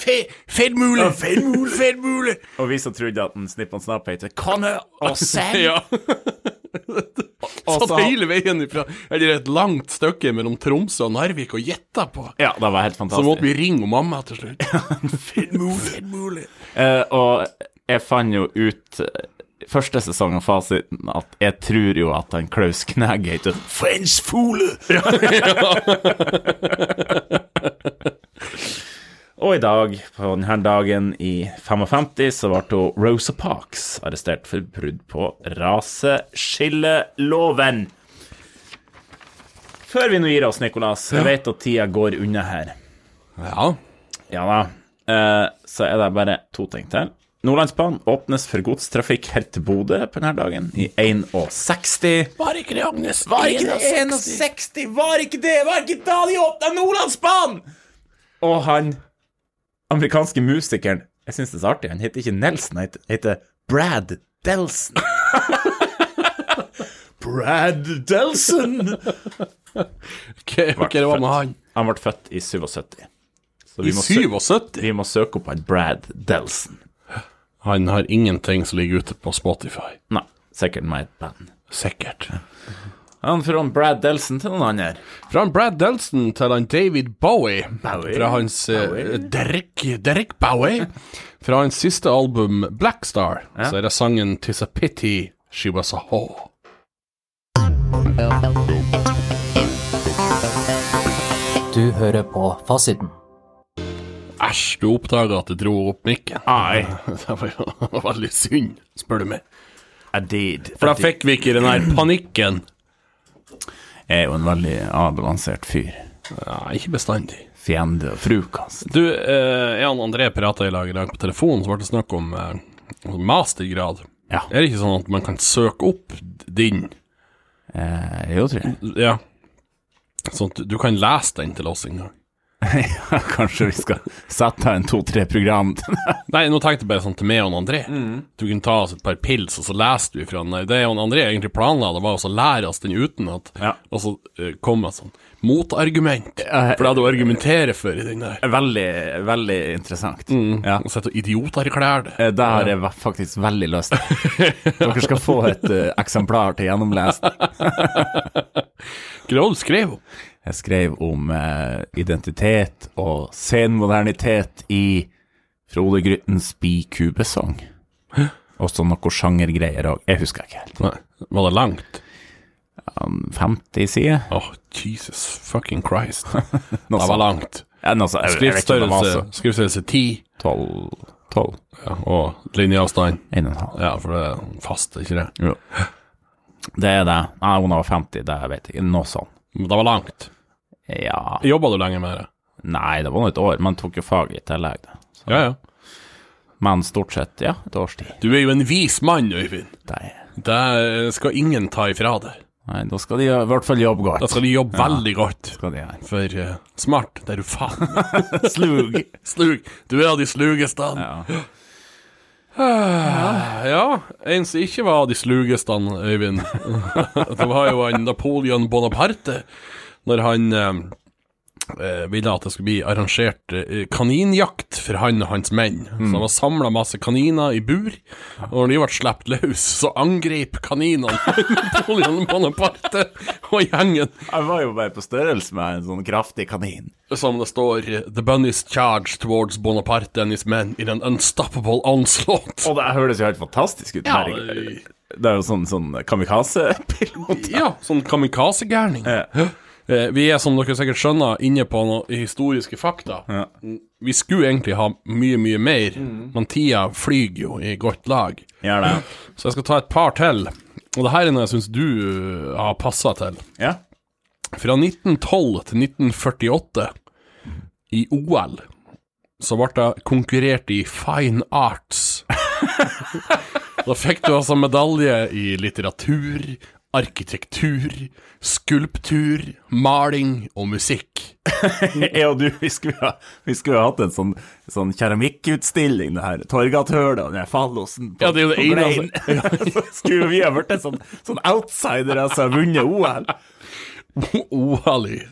Fe, Fedmule! Ja, fedmule, fedmule! Og vi som trodde at en Snipp og Snapp heter Conne og Sam. Ja. Satt hele veien ifra Eller et langt stykke mellom Tromsø og Narvik og gjetta på. Ja, det var helt Så måtte fantastisk. vi ringe mamma til slutt. Fedmule, fedmule. Eh, og jeg fant jo ut eh, første sesong av fasiten at jeg tror jo at han Klaus Knæg heter French fole! Og i dag, på denne dagen i 55, så ble hun Rosa Parks arrestert for brudd på raseskilleloven. Før vi nå gir oss, Nikolas, jeg vet at tida går unna her. Ja. Ja da. Eh, så er det bare to ting til. Nordlandsbanen åpnes for godstrafikk her til Bodø på denne dagen i 61. Var ikke det, Agnes? Var ikke det 61, var ikke det? Var ikke da de åpna Nordlandsbanen? Og han amerikanske musikeren Jeg syns det er så artig. Han heter ikke Nelson, han heter- heter Brad Delson. Brad Delson! Hva hva det var med han? Han ble født i 77. Så I vi må, søke, 77? vi må søke opp han Brad Delson. Han har ingenting som ligger ute på Spotify. Nei, sikkert med et band. Sikkert. Han fra Brad Delson til noen andre. Fra han Brad Delson til han David Bowie. Bowie. Fra hans eh, Derek, Derek Bowie. Fra hans siste album Black Star, så er det sangen 'Tis a Pity She Was a Whore'. Du hører på Fasiten. Æsj, du oppdaga at jeg dro opp mikken. Nei. Det var jo veldig synd, spør du meg. I did. For da fikk vi ikke den her panikken. Jeg er jo en veldig avbalansert fyr. Nei, ikke bestandig. Fiende og altså. frukast. Du, eh, jeg og André prata i lag i dag på telefonen, så ble det snakk om eh, mastergrad. Ja. Er det ikke sånn at man kan søke opp din Eh, jo, tror jeg. Ja. Sånn at du kan lese den til oss en gang. Ja, kanskje vi skal sette her en to-tre program til Nei, nå tenkte jeg bare sånn til meg og André. Du kunne ta oss et par pils, og så leste du ifra den. Nei, Det jeg og André egentlig planla, det var også å lære oss den utenat, Ja. og så eh, kom et sånn motargument. Ja, For det du argumenterer for i den der. Veldig, veldig interessant. Ja. Og sitter og idioterklærer det. Eh, Det har jeg va- faktisk veldig lyst til. Dere skal få et eh, eksemplar til gjennomlesning. Hva var det du skrev om? Jeg skrev om eh, identitet og senmodernitet i Frode Gryttens bikubesang. Også noe sjangergreier òg. Jeg husker ikke helt. Nei, var det langt? 50 sider? Åh, Jesus fucking Christ. Noe Det var sånt. langt. Ja, noe sånt. Jeg- jeg vet ikke om det var Skriftstørrelse, så- skriftstørrelse 10, 12, 12, ja, og linjeavstand. 1,5. Ja, for det er fast, ikke det? Jo. Det er det. Nei, hun var 50, det vet jeg ikke. Noe sånt. Men Det var langt. Ja Jobba du lenge med det? Nei, det var nå et år. Man tok jo fag i tillegg. da. Ja, ja. Men stort sett, ja, et års tid. Du er jo en vis mann, Øyvind. Nei, Det skal ingen ta ifra deg. Nei, da skal de i hvert fall jobbe godt. Da skal de jobbe veldig godt. Skal de gjøre. For eh, smart, det er du faen. Slug. Slug. Du er av de slugeste. Ja. Ah, ja, en som ikke var av de slugeste, Øyvind. det var jo han Napoleon Bonaparte, når han eh, eh, ville at det skulle bli arrangert eh, kaninjakt for han og hans menn. Så han var samla masse kaniner i bur, og når de ble sluppet løs, så angrep kaninene Napoleon Bonaparte og gjengen. Jeg var jo bare på størrelse med en sånn kraftig kanin. Som det står The bunnies charge towards Bonaparte and his men in an unstoppable onslaught. Og det høres jo helt fantastisk ut. Ja, Berg. det er jo sånn, sånn kamikaze-pilot. Ja, sånn kamikaze-gærning. Eh, vi er, som dere sikkert skjønner, inne på noen historiske fakta. Vi skulle egentlig ha mye, mye mer, men tida flyger jo i godt lag. Gjør det. Så jeg skal ta et par til. Og det her er noe jeg syns du eh, har passa til. Ja. Fra 1912 til 1948, i OL, så ble det konkurrert i fine arts. da fikk du altså medalje i litteratur, arkitektur, skulptur, maling og musikk. Jeg og du, vi skulle, ha- vi skulle ha hatt en sånn, sånn keramikkutstilling, det her Torgathølet og den her fallosen på, Ja, det er jo det på ene, Grein. Så skulle vi ha vært en sånn, sånn outsider som har vunnet OL OL i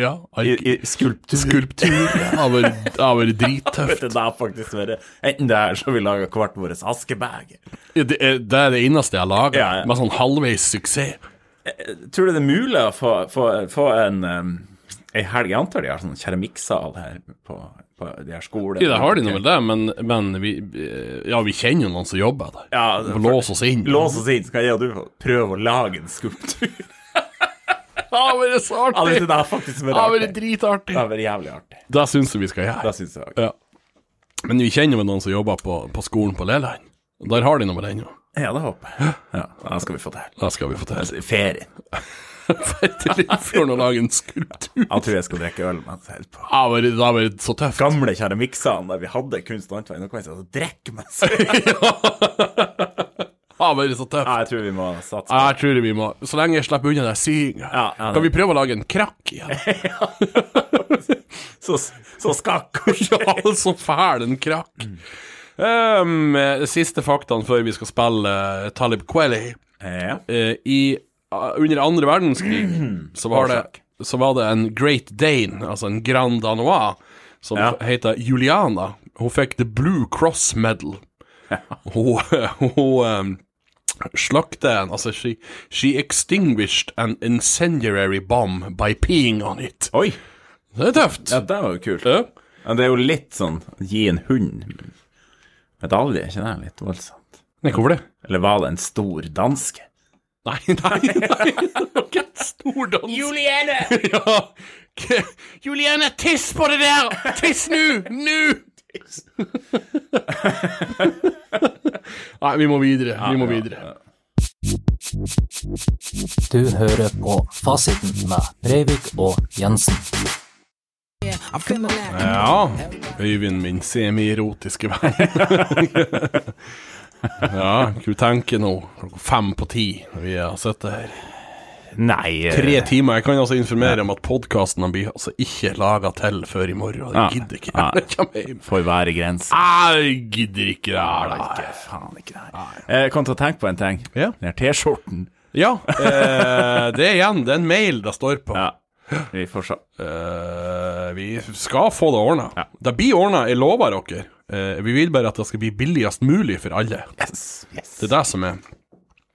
Ja. i, ark- i skulptur. Skulptur av en, av en Vet drittøft. du, det er faktisk verre. Enten det her, så vi lager hvert vårt askebeger. Ja, Det er det, er det eneste jeg lager, Ja, ja. med sånn halvveis suksess. Tror du det er mulig å få, få, få en um, ei helg? Jeg antar de har sånn keramikksal her på, på de her skolene. Ja, det har de nå vel det, men, men vi, ja, vi kjenner jo noen som jobber der. Ja, det- Lås oss inn. Lås oss inn, så kan jeg og du få prøve å lage en skulptur. Ja, men det er så Ja, vet artig! du, det er faktisk Ja, men det veldig er artig. dritartig. Det er veldig jævlig artig. Det syns jeg vi skal gjøre. Det syns jeg òg. Ja. Men vi kjenner jo noen som jobber på, på skolen på Leland. Der har de noe med den, jo. Ja, det håper jeg. Ja, da skal vi få Altså, til. Det skal vi få til. Ferie. Dra til Lindfjorden og lage en skulptur. Jeg tror jeg skal drikke øl mens jeg holder på. Ja, men det har vært så tøft. Gamle keramikksalen der vi hadde kunst og håndverk. Nå kan jeg sitte og drikke mens jeg Det har vært så tøft. Ja, jeg tror vi må satse. Ja, Jeg tror vi må Så lenge jeg slipper unna den syinga, Ja, ja, det- kan vi prøve å lage en krakk igjen? Så, så skakk og Ja, så fæl en krakk. Um, eh, siste faktaen før vi skal spille eh, Talib Kweli. Ja. Eh, I ah, Under andre verdenskrig så var, det, så var det en Great Dane, altså en Grand Danois, som Ja. heter Juliana. Hun fikk The Blue Cross Medal. Hun, hun um, slakte en Altså, she, she extinguished an incendiary bomb by peeing on it. Oi! Det er tøft. Ja, det var jo kult. Ja. Men det er jo litt sånn gi en hund medalje, ikke det? Litt voldsomt. Nei, hvorfor det? Eller var det en stor danske? Nei, nei, nei. Det var ikke en stor dans. Juliane! ja. K- Juliane, tiss på det der! Tiss nå! Nå! nei, vi må videre. Vi må videre. Du hører på Fasiten med Breivik og Jensen. Ja. Øyvind min semierotiske venn. ja, hva tenker du nå? Klokka fem på ti når vi har sittet her. Nei eh, Tre timer. Jeg kan altså informere om at podkasten blir altså ikke laga til før i morgen. Jeg gidder ikke. Jeg kommer hjem. Får være grenser. Jeg gidder ikke det her, da. Nei, faen ikke det her. Jeg Eh, kom til å tenke på en ting. Ja. Den her T-skjorten. Ja, eh, det er igjen, det er en mail det står på. Ja. Vi får se. Eh, vi skal få det ordna. Det blir ordna, jeg lover dere. Eh, vi vil bare at det skal bli billigst mulig for alle. Yes. yes. Det er det som er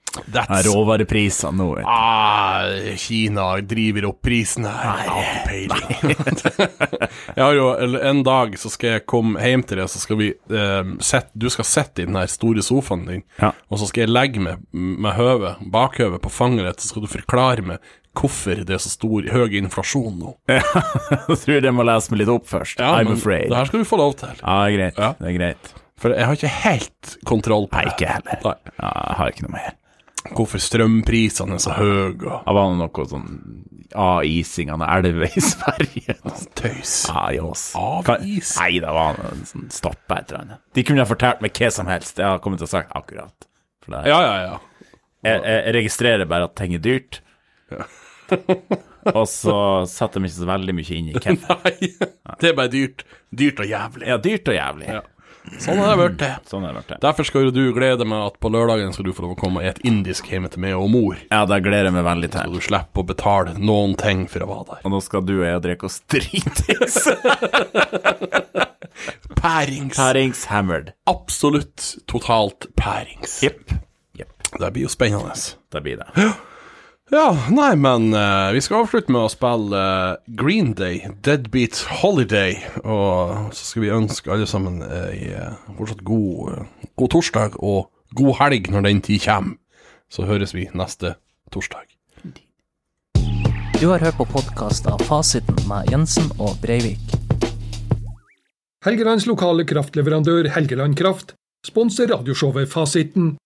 That's Råvarepriser nå, vet du. ah, Kina driver opp prisen her. Jeg har ikke peiling. Jeg har jo eller En dag så skal jeg komme hjem til deg, så skal vi eh, sett, Du skal sitte i den her store sofaen din, Ja. og så skal jeg legge meg med høvet, bakhøvet på fanget ditt, så skal du forklare meg hvorfor det er så stor høy inflasjon nå. Jeg tror jeg må lese meg litt opp først. I'm men afraid. Det her skal du få lov til. Ja, det er greit. Ja. Det er greit. For jeg har ikke helt kontroll på det. Ikke heller. Nei. Ja, jeg har ikke noe mer. Hvorfor strømprisene er så høye og Det var noe sånn aising av en elv i Sverige. tøys. Ja, i Ås. Avis? Nei, det var noe sånn stopp et eller annet. De kunne ha fortalt meg hva som helst. Jeg har kommet til å sagt akkurat. For det, Ja, ja, ja. jeg, jeg, jeg registrerer bare at ting er dyrt. og så setter de ikke så veldig mye inn i hvem. Nei, det er bare dyrt. Dyrt og jævlig. Ja, dyrt og jævlig. Ja. Sånn har det blitt. det. Sånn har det vært. det. Derfor skal jo du glede meg at på lørdagen skal du få lov å komme og et indisk hjemme til meg og mor. Ja, det gleder jeg meg veldig Og til. du slipper å betale noen ting for å være der. Og nå skal du og jeg drikke oss dritings. Pærings. Herrings hammered. Absolutt totalt pærings. Jepp. Det blir jo spennende. Det blir det. Ja, nei, men eh, vi skal avslutte med å spille eh, Green Day, Deadbeat Holiday. Og så skal vi ønske alle sammen eh, i, eh, fortsatt god, eh, god torsdag og god helg når den tid kommer. Så høres vi neste torsdag. Du har hørt på podkast av Fasiten med Jensen og Breivik. Helgelands lokale kraftleverandør Helgeland Kraft sponser radioshowet Fasiten.